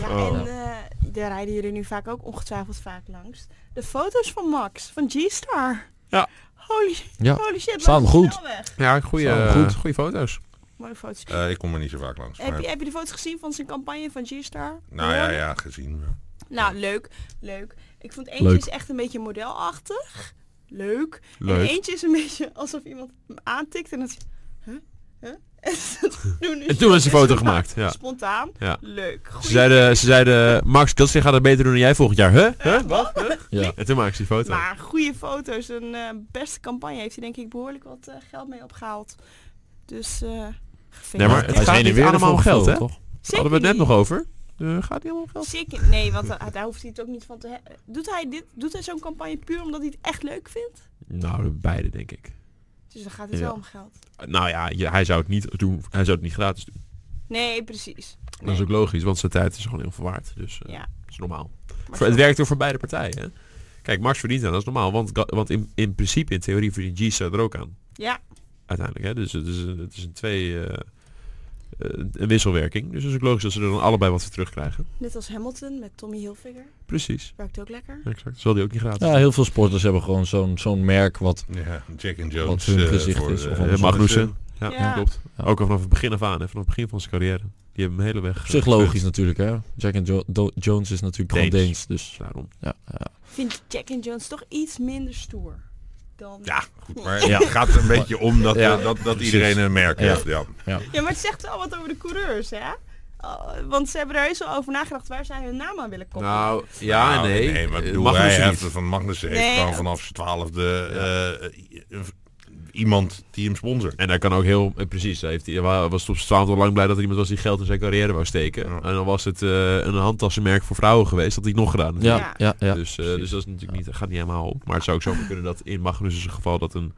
Ja, Oh. en eh, daar rijden jullie nu vaak ook ongetwijfeld vaak langs. De foto's van Max, van G-Star. Ja. Holy, Ja. holy shit, Staan langs de goed. snelweg. Ja, goede, Zo, goed. goede foto's. Mooie foto's. Eh, ik kom er niet zo vaak langs. Heb maar- je, heb je de foto's gezien van zijn campagne van G-Star? nou ja, ja, gezien. Nou, leuk, leuk. Ik vond eentje Leuk. is echt een beetje modelachtig. Leuk. En Leuk. eentje is een beetje alsof iemand hem aantikt en dan zegt, huh? Huh? En toen is En toen is die foto spontaan- gemaakt, ja. Spontaan. Ja. Leuk. Goeie Ze zeiden, ze zeiden Max Kelsey gaat het beter doen dan jij volgend jaar. Huh? Huh? Wat? Huh? Ja. En toen maakte ze die foto. Maar goede foto's, een eh, beste campagne heeft hij denk ik behoorlijk wat eh, geld mee opgehaald. Dus eh Nee, maar het Hij is gaat heen en niet weer allemaal om ervoor geld, hè? gevuld, toch? Daar hadden we het net nog over. Eh, gaat niet allemaal om geld? Zeker, nee, want eh, daar hoeft hij het ook niet van te hebben. Doet hij, dit- doet hij zo'n campagne puur omdat hij het echt leuk vindt? Nou, beide denk ik. Dus dan gaat het Ja. wel om geld. Nou ja, je- hij zou het niet doen. Hij zou het niet gratis doen. Nee, precies. Dat is ook logisch, want zijn tijd is gewoon heel veel waard. Dus eh, Ja. dat is normaal. Maar Voor, het zo- werkt door voor beide partijen. Hè? Kijk, Max verdient aan, dat is normaal. Want, ga- want in, in principe, in theorie, verdient Gisa er ook aan. Ja. Uiteindelijk, hè? Dus het is een, het is een twee... eh, eh, een wisselwerking. Dus het is ook logisch dat ze er dan allebei wat voor terugkrijgen. Net als Hamilton met Tommy Hilfiger. Precies. Werkt ook lekker. Exact. Zal die ook niet gratis Ja, heel veel sporters hebben gewoon zo'n zo'n merk wat... Ja, Jack and Jones. Wat hun eh, gezicht voor, is, of eh, Eh, andersom. Magnussen. Ja, Ja. klopt. Ja. Ook al vanaf het begin af aan, hè, vanaf het begin van zijn carrière. Die hebben hem hele weg. eh, Op zich logisch natuurlijk, hè. Jack and Jo- Do- Jones is natuurlijk gewoon Deens. Deens, dus... Daarom. Ja, ja. Vindt Jack and Jones toch iets minder stoer dan... Ja, goed. Maar Ja. het gaat een beetje om dat, eh, Ja. dat, dat Precies. iedereen een merk Ja. heeft. Ja. Ja, maar het zegt wel wat over de coureurs, hè? Oh, want ze hebben er heus wel over nagedacht waar zij hun naam aan willen koppelen. Nou, Ah, ja, Nou, nee. nee maar ik Eh, bedoel, Magnussen hij niet. heeft van Magnussen heeft Nee, gewoon ja. vanaf zijn twaalfde eh, eh, iemand die hem sponsort. En daar kan ook heel... eh, precies, hij heeft, hij wa- was op straat al lang blij dat er iemand was die geld in zijn carrière wou steken. Ja. En dan was het eh, een handtassenmerk voor vrouwen geweest. Dat had hij nog gedaan. Ja, Ja. ja, ja. dus, eh, precies. dus dat is natuurlijk niet, gaat niet helemaal op. Maar het zou ook zomaar kunnen dat in Magnussen's geval dat een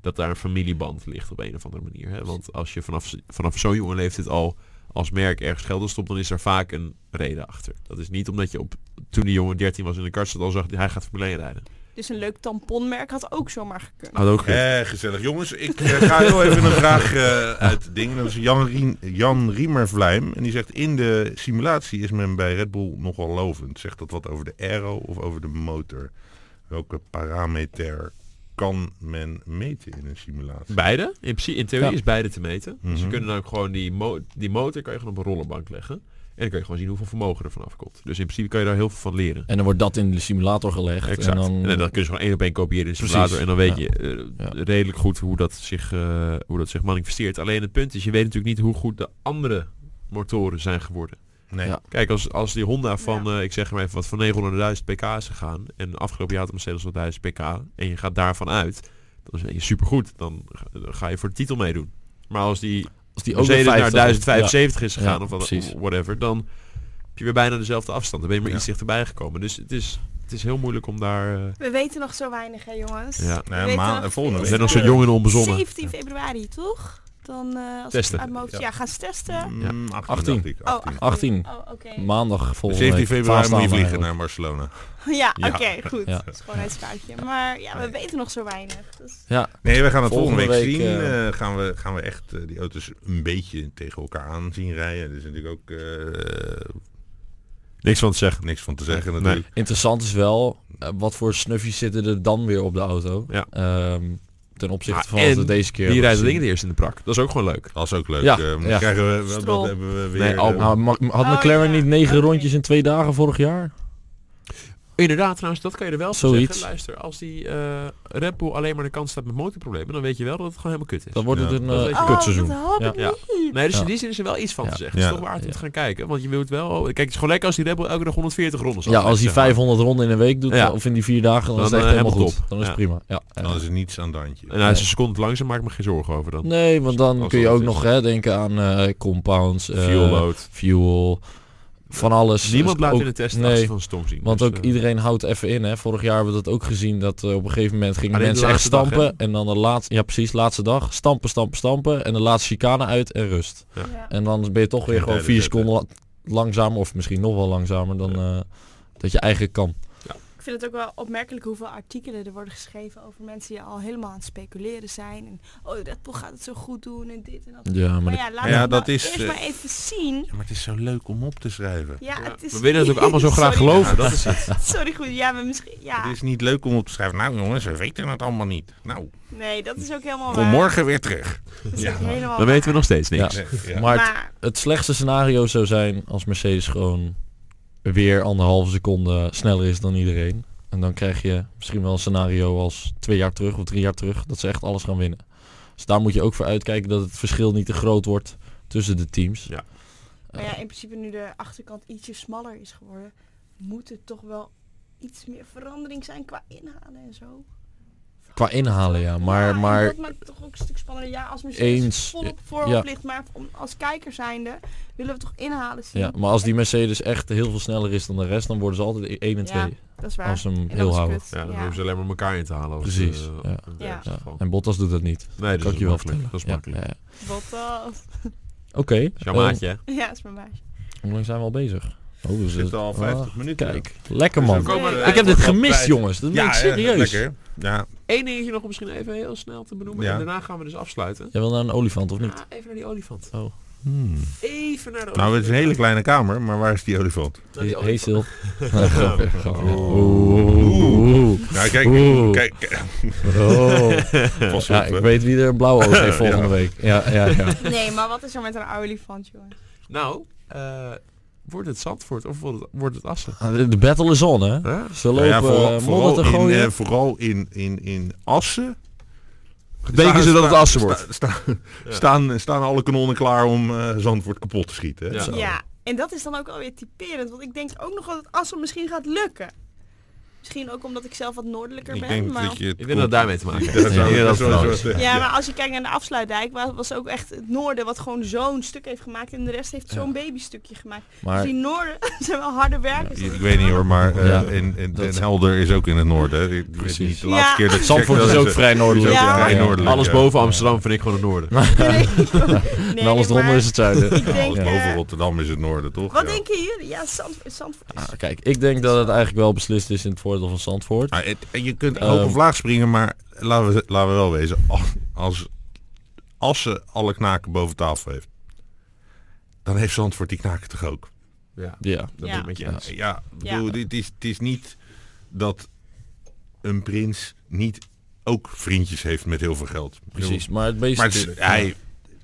dat daar een familieband ligt op een of andere manier. Hè? Want als je vanaf, vanaf zo'n jonge leeftijd al als merk ergens geld in stopt, dan is er vaak een reden achter. Dat is niet omdat je op toen die jongen 13 was in de kart zat al zag hij gaat Formule 1 rijden. Dus een leuk tamponmerk had ook zomaar gekund. Had ook Eh, gezellig. Jongens, ik eh, ga heel even een vraag eh, uit het ding. Dat is Jan, Rien, Jan Riemervlijm. En die zegt, in de simulatie is men bij Red Bull nogal lovend. Zegt dat wat over de aero of over de motor? Welke parameter kan men meten in een simulatie? Beide. In, principe, in theorie Ja. is beide te meten. Dus je Mhm. kunt dan ook gewoon die, mo die motor kan je gewoon op een rollenbank leggen. En dan kun je gewoon zien hoeveel vermogen er vanaf komt. Dus in principe kan je daar heel veel van leren. En dan wordt dat in de simulator gelegd. Exact. En dan, En dan kun je ze gewoon één op één kopiëren in de Precies. simulator. En dan weet Ja. je eh, Ja. redelijk goed hoe dat, zich, eh, hoe dat zich manifesteert. Alleen het punt is, je weet natuurlijk niet hoe goed de andere motoren zijn geworden. Nee. Ja. Kijk, als, als die Honda van, eh, ik zeg maar even wat, van 900.000 pk is gegaan. En afgelopen jaar had Mercedes wel 1000 pk. En je gaat daarvan uit. Dan ben je supergoed. Dan ga, dan ga je voor de titel meedoen. Maar als die als die ook Mercedes naar 50 1075 is gegaan Ja, of wat, precies. whatever. Dan heb je weer bijna dezelfde afstand. Dan ben je maar Ja. iets dichterbij gekomen. Dus het is het is heel moeilijk om daar... eh, We weten nog zo weinig, hè jongens. ja. Nou, weet maan- nog- eh, volgende We week. zijn nog zo jong en onbezonnen. 17 februari, toch? Dan eh als ik Testen. uit mijn hoofd- Ja. ja. gaan ze testen. Mm, Ja. 18. 18. dacht ik, 18. Oh, 18. Oh, oké. Maandag volgende 17 week. februari moet je Vaarstaan vliegen eigenlijk. naar Barcelona. Ja, Ja. oké, goed. Ja. Dat is gewoon een spaatje. Maar ja, we Nee. weten nog zo weinig. Dus Nee, we gaan het volgende, Volgende week, week, zien. eh, Eh, gaan, we, gaan we echt eh, die auto's een beetje tegen elkaar aan zien rijden. Er is natuurlijk ook eh, Niks van te zeggen. niks van te zeggen Nee. natuurlijk. Interessant is wel, eh, wat voor snuffies zitten er dan weer op de auto? Ja. Ehm, ten opzichte Ah, van wat en we deze keer Die hebben rijden dingen gezien. eerst in de prak. Dat is ook gewoon leuk. Dat is ook leuk. Ja, Eh, ja. Krijgen we, wat, Strol. wat hebben we weer? Nee, Albon. eh, Nou, Ma- had Oh, McLaren ja. niet negen Oké. rondjes in twee dagen vorig jaar? Inderdaad, trouwens, dat kan je er wel van Zoiets. zeggen. Luister, als die eh Red Bull alleen maar aan de kant staat met motorproblemen, dan weet je wel dat het gewoon helemaal kut is. Dan wordt Ja, het een dat eh, weet je. Oh, kutseizoen. dat hoop Ja. ik Ja. niet. Nee, dus Ja. in die zin is er wel iets van te zeggen. Ja. Het is toch waard om Ja. te gaan kijken. Want je wilt wel... oh, Kijk, het is gewoon lekker als die Red Bull elke dag 140 rondes Ja, als hij aflegt, zeg maar. 500 ronden in een week doet, Ja. of in die vier dagen, dan, Dan, is het echt eh, helemaal helemaal goed. top. Dan is het Ja. prima. Ja, ja. Dan is er niets aan Dantje. En hij is een seconde langzaam, maak ik me geen zorgen over dan. Nee, want dan Als kun je dat ook is. nog hè, denken aan eh, compounds, eh, Fuel load. fuel, van alles. Niemand Dus laat ook- in de test nee, nee, van stom zien. Want Dus, ook eh, iedereen houdt even in. Hè. Vorig jaar hebben we dat ook gezien. Dat eh, op een gegeven moment gingen Alleen de mensen echt laatste dag, stampen. en dan de laatste, ja precies, laatste dag. Stampen, stampen, stampen. En de laatste chicane uit en rust. Ja. En dan ben je toch weer Geen gewoon derde vier zet, seconden la- langzamer. Of misschien nog wel langzamer dan eh, dat je eigenlijk kan. Ik vind het ook wel opmerkelijk hoeveel artikelen er worden geschreven over mensen die al helemaal aan het speculeren zijn. En, oh, Red Bull gaat het zo goed doen en dit en dat. Ja, maar, Maar dat- ja, laat Maar ja, het dat nou is, eerst eh, maar even zien. Ja, maar het is zo leuk om op te schrijven. Ja, ja, het is... We willen het ook allemaal zo graag Sorry. geloven. Dat is het. Sorry, goed. Ja, maar misschien... Ja. Het is niet leuk om op te schrijven. Nou jongens, we weten het allemaal niet. Oh, Nou, Nee, dat is ook helemaal kom waar. morgen weer terug. Dat is Ja. ook helemaal Dan weten we nog steeds niks. Ja. Nee, ja. maar het, Maar het slechtste scenario zou zijn als Mercedes gewoon weer anderhalve seconde sneller is dan iedereen. En dan krijg je misschien wel een scenario als twee jaar terug of drie jaar terug. Dat ze echt alles gaan winnen. Dus daar moet je ook voor uitkijken dat het verschil niet te groot wordt tussen de teams. Ja. Maar ja, in principe nu de achterkant ietsje smaller is geworden, moet er toch wel iets meer verandering zijn qua inhalen en zo. Qua inhalen ja, maar, en maar dat maakt het toch ook een stuk spannender. Ja, als Mercedes Eens, volop voorop ja. ligt, maar om, als kijker zijnde willen we toch inhalen zien. Ja, maar als die Mercedes echt heel veel sneller is dan de rest, dan worden ze altijd 1 en 2. Ja, dat is waar. als ze hem En dat heel is houden. kut. Ja, dan Ja. hoeven ze alleen maar elkaar in te halen. Als Precies, eh, ja. een Ja. Ja. geval. En Bottas doet dat niet. Nee, kan dat ik is je wel makkelijk. vertellen. Dat is Ja, makkelijk. ja, ja. Wat dan? Oké. Jouw eh, maatje, hè? Ja, is mijn baasje. hoe lang zijn we al bezig? Oh, we We zitten al 50 minuten. Kijk, lekker Dus we man. komen Nee. aan het Ik heb eind dit van de gemist, tijd. jongens. Dat ben ik hè, serieus. lekker. Ja, Eén dingetje nog om misschien even heel snel te benoemen. Ja. En daarna gaan we dus afsluiten. Jij wil naar een olifant of niet? Ah, even naar die olifant. Hmm. Even naar de olifant. Nou, het is een hele kleine kamer, maar waar is die olifant? Oh. Naar die He- olifant. Heestil. Nee, grapje, grapje. Oeh. Oeh. Nou, kijk, Oeh. kijk, kijk, Oh. pas Ja, op, ik hè. weet wie er een blauwe oog heeft volgende Ja. week. Ja, ja, ja. Nee, maar wat is er met een olifant, jongens? Nou, eh, wordt het Zandvoort of wordt het, wordt het Assen? Ah, De de battle is on, hè? Huh? Ze Nou lopen ja, ja, vooral, eh, modder te vooral, in, gooien. eh, vooral in, in, in Assen. Denken ze dat het Assen wordt? sta- staan, staan alle kanonnen klaar om eh, Zandvoort kapot te schieten. Hè? Ja. Zo. Ja, en dat is dan ook alweer typerend, want ik denk ook nog wel dat Assen misschien gaat lukken. Misschien ook omdat ik zelf wat noordelijker Ik ben, denk maar... dat je het Ik denk dat het daarmee te maken Ja, heeft. Ik dat zou- denk dat dat het zou- vooral is. zou- Ja, maar als je kijkt naar de afsluitdijk, wa- was ook echt het noorden wat gewoon zo'n stuk heeft gemaakt en de rest heeft zo'n babystukje gemaakt. Dus Maar die noorden zijn wel harde werkers. Ik weet niet hoor, maar eh Ja. en, en, Dat- Den Helder is ook in het noorden. hè. Ik weet Precies. niet, de laatste Ja. keer dat ik Zandvoort checkte, is dat ook vrij is ook noordelijk. Ja. vrij Ja. noordelijk, Alles ja. boven Amsterdam vind ik gewoon het noorden. Nee, en alles nee, maar eronder is het zuiden. Ik denk, Ja. eh, Boven Rotterdam is het noorden, toch? Wat Ja. denken jullie? Ja, Zandvoort. Zandvoort is- Ah, Kijk, ik denk dat het eigenlijk wel beslist is in het voordeel van Zandvoort. Ah, het- en je kunt Ehm. hoog of laag springen, maar laten we, laten we wel wezen. Als, als, als ze alle knaken boven tafel heeft, dan heeft Zandvoort die knaken toch ook. Ja, Ja. dat Ja. ben ik met je eens. Ja, ik bedoel, dit is, het is niet dat een prins niet ook vriendjes heeft met heel veel geld. Ik bedoel, Precies, maar het meest... Maar het is- hij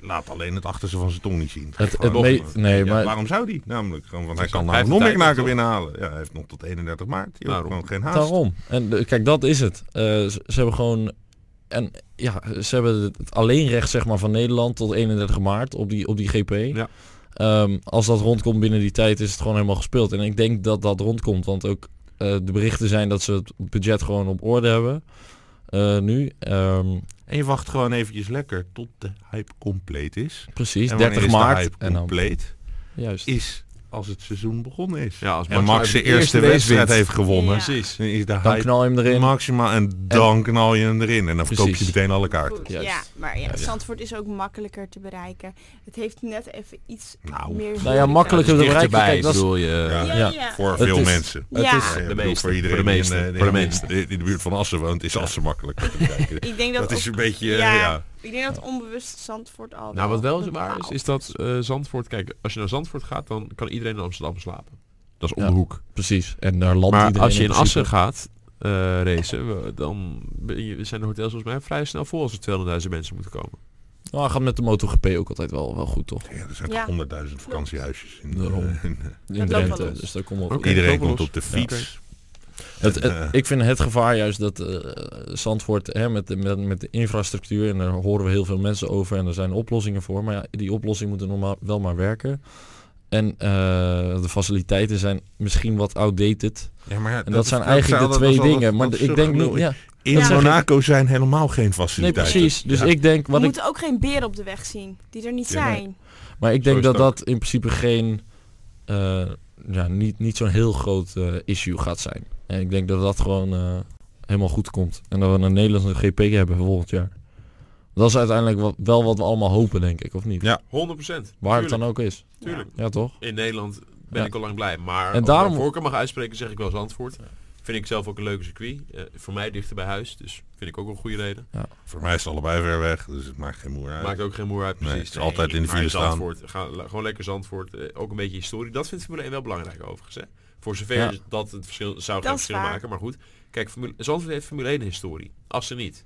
laat alleen het achterste van zijn tong niet zien. Het- het Gewoon, me- eh, nee, maar- Waarom zou die? Namelijk, gewoon, want hij kan Hij namelijk heeft nog de meer tijd knaken nog. binnenhalen. Ja, hij heeft nog tot 31 maart. Joh, Daarom. gewoon geen haast. Daarom. En de- kijk, dat is het. Eh, ze, ze hebben gewoon... En ja, ze hebben het- het alleenrecht zeg maar, van Nederland tot 31 maart op die, op die GP. Ja. Ehm, als dat rondkomt binnen die tijd is het gewoon helemaal gespeeld. En ik denk dat dat rondkomt, want ook eh, de berichten zijn dat ze het budget gewoon op orde hebben. eh, nu. Ehm, En je wacht gewoon eventjes lekker tot de hype compleet is. precies, en wanneer 30 is maart. de hype en dan, compleet? juist. Is als het seizoen begonnen is. Ja, als en Max zijn eerste wedstrijd heeft gewonnen, Ja. Precies. dan is de Dan hype knal je hem erin. maximaal en dan knal je hem erin. En dan verkoop je Precies. meteen alle kaarten. Goed, Juist. Ja, maar ja, Ja, ja. Zandvoort is ook makkelijker te bereiken. Het heeft net even iets Nou, meer... Nou ja, makkelijker te bereiken. Kijk, dat is- bedoel je... Ja. Ja, Ja. ja. Voor Het veel is- mensen. Het Ja. is- Ik De bedoel, meeste, Voor iedereen voor de die meeste, in, eh, voor de in- meeste. in de buurt van Assen woont, is Assen makkelijk. om te bereiken. Ik denk dat, Dat is ook- een beetje... eh, ja, ja. Ik denk dat onbewust Zandvoort al Nou, wat wel waar is, bepaalt. is dat eh, Zandvoort... Kijk, als je naar Zandvoort gaat, dan kan iedereen in Amsterdam slapen. Dat is om Ja. de hoek. Precies. En daar landt Maar iedereen als je in principe. Assen gaat eh, racen, we- dan ben je- zijn de hotels volgens mij vrij snel vol als er 200.000 mensen moeten komen. Nou, hij gaat met de MotoGP ook altijd wel, wel goed, toch? Ja, er zijn Ja. toch honderdduizend vakantiehuisjes in Daarom. de in- In loopt wel Drenthe. los. Dus daar komt wel Oké. Iedereen Topolos. komt op de fiets. Het, En, het- eh, ik vind het gevaar juist dat eh, Zandvoort hè, met, de- met, met de infrastructuur, en daar horen we heel veel mensen over en er zijn oplossingen voor, maar ja, die oplossingen moeten normaal wel maar werken. En eh, de faciliteiten zijn misschien wat outdated. Ja, maar ja, En dat is- zijn eigenlijk de dat twee is al- dat- dingen. Maar dat is ik zo denk genoeg. niet. Ja. In Ja. Monaco zijn helemaal geen Nee, faciliteiten. precies. Dus Ja. ik denk. We Wat ik, moeten ook geen beren op de weg zien, die er niet Ja, nee. zijn. maar ik Zo denk is dat het ook. dat in principe geen. eh, ja, niet, niet zo'n heel groot eh, issue gaat zijn. En ik denk dat dat gewoon eh, helemaal goed komt. En dat we een Nederlandse GP hebben volgend jaar. Dat is uiteindelijk wat, wel wat we allemaal hopen, denk ik, of niet? Ja. 100 procent. Waar het dan ook is. Tuurlijk. Ja, toch? In Nederland ben Ja. ik al lang blij. Maar En en daarom- daarom... als ik voorkeur mag uitspreken, zeg ik wel Zandvoort. Vind ik zelf ook een leuke circuit. Eh, voor mij dichter bij huis, dus vind ik ook een goede reden. Voor mij is het allebei ver weg, dus het maakt geen moer uit. Maakt ook geen moer uit, Nee, precies. het is altijd in de maar file staan. Zandvoort, ga, la- gewoon lekker Zandvoort. eh, ook een beetje historie. Dat vindt Formule 1 wel belangrijk overigens. Hè? Voor zover Ja. dat het verschil zou Dat gaan is verschil waar. maken. Maar goed, kijk, Formule, Zandvoort heeft Formule 1 historie. Assen niet.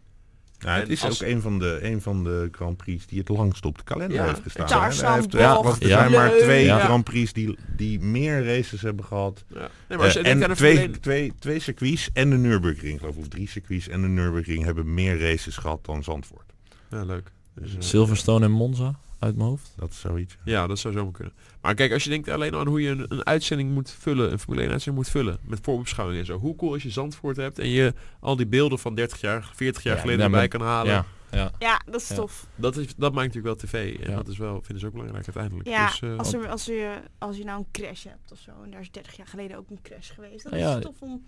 Ja, het En is als- ook een van, de, een van de Grand Prix die het langst op de kalender Ja. heeft gestaan. Tarzan, Hij heeft, Bocht, want er Ja. zijn maar Leuk. twee Ja. Grand Prix die, die meer races hebben gehad. Ja. Nee, maar als je Eh, denkt aan en de twee, Formule 1 twee, twee circuits en de Nürburgring, geloof ik. Of drie circuits en de Nürburgring hebben meer races gehad dan Zandvoort. Ja, leuk. Dus, Mm. eh, Silverstone en Monza, uit mijn hoofd. Dat is zoiets. Ja, dat zou zomaar kunnen. Maar kijk, als je denkt alleen al aan hoe je een, een uitzending moet vullen, een Formule 1 uitzending moet vullen, met voorbeschouwingen en zo. Hoe cool als je Zandvoort hebt en je al die beelden van 30 jaar, 40 jaar Ja, geleden nou, erbij met- kan halen. Ja, ja. Ja, dat is Ja. tof. Dat, is, dat maakt natuurlijk wel tv. En Ja. dat is wel, vinden ze ook belangrijk uiteindelijk. Ja, dus, eh, als, er, als, je, als je nou een crash hebt of zo, en daar is 30 jaar geleden ook een crash geweest, dan Ja. is het tof om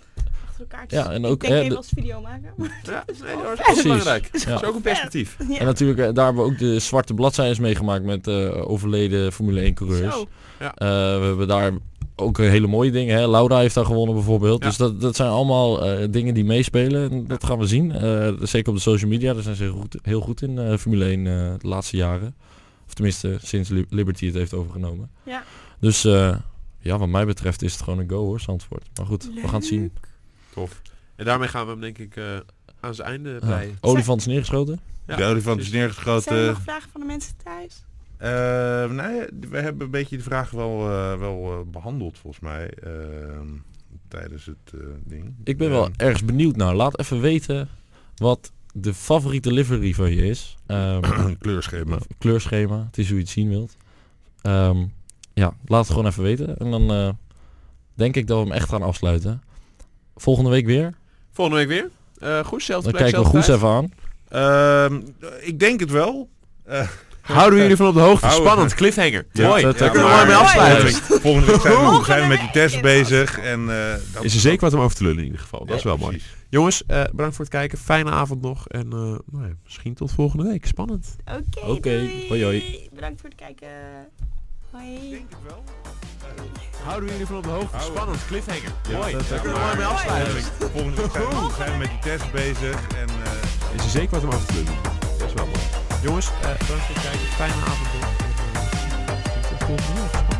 achter elkaar te Ja, zien. en Ik ook, denk hè, even de- als video maken. maar- ja, nee, wel dat is vet. wel belangrijk. Precies. Dat is Ja. ook een perspectief. Ja. En natuurlijk, eh, daar hebben we ook de zwarte bladzijdes meegemaakt met eh, overleden Formule 1 coureurs. Zo. Eh, we hebben daar ook hele mooie dingen. Hè? Laura heeft daar gewonnen bijvoorbeeld. Ja. Dus dat, dat zijn allemaal eh, dingen die meespelen. En dat gaan we zien. Eh, zeker op de social media. Daar zijn ze heel goed, heel goed in eh, Formule 1 eh, de laatste jaren. Of tenminste, sinds Li- Liberty het heeft overgenomen. Ja. Dus eh, ja, wat mij betreft is het gewoon een go hoor, Zandvoort. Maar goed, we gaan het zien. Leuk. Tof. En daarmee gaan we hem denk ik eh, aan zijn einde Ja. bij. Olifant is neergeschoten. Ja, dus- de olifant is precies. Zijn er eh, neergeschoten. nog vragen van de mensen thuis? Eh, nou ja, d- we hebben een beetje de vraag wel, eh, wel eh, behandeld, volgens mij. ehm, tijdens het eh, ding. Ik ben wel Eh, ergens benieuwd naar. Laat even weten wat de favoriete livery van je is. Ehm, een kleurschema. Of kleurschema. Het is hoe je het zien wilt. Ehm, ja, laat het gewoon even weten. En dan eh, denk ik dat we hem echt gaan afsluiten. Volgende week weer. Volgende week weer. Eh goed, zelfde Dan plek, kijken we zelfde goed tijd. even aan. Ehm, ik denk het wel. Eh, Houden jullie van op de hoogte? Houden. Spannend, cliffhanger. Ja. Mooi. Ja, Daar kunnen we mooi maar- mee Mooi. afsluiten. Volgende week zijn we, Volgende zijn we met die test week. bezig. En, eh, dat- Is er zeker wat om over te lullen in ieder geval. Dat is wel Ja, mooi. precies. Jongens, eh, bedankt voor het kijken. Fijne avond nog. En eh, nou ja, misschien tot volgende week. Spannend. Oké, Oké, doei. hoi, hoi. Bedankt voor het kijken. Ik Hoi. denk het wel. Houden jullie van op de hoogte? Houden. Spannend, cliffhanger. Ja, mooi. dat- Daar dat- kunnen we mooi mee Mooi. afsluiten. Volgende week zijn we- zijn we met die test bezig. En, eh, Is er zeker wat om over te lullen. Dat is wel mooi. Jongens, eh, bedankt voor het kijken. Fijne avond nog. En, eh, misschien tot volgende week. Spannend.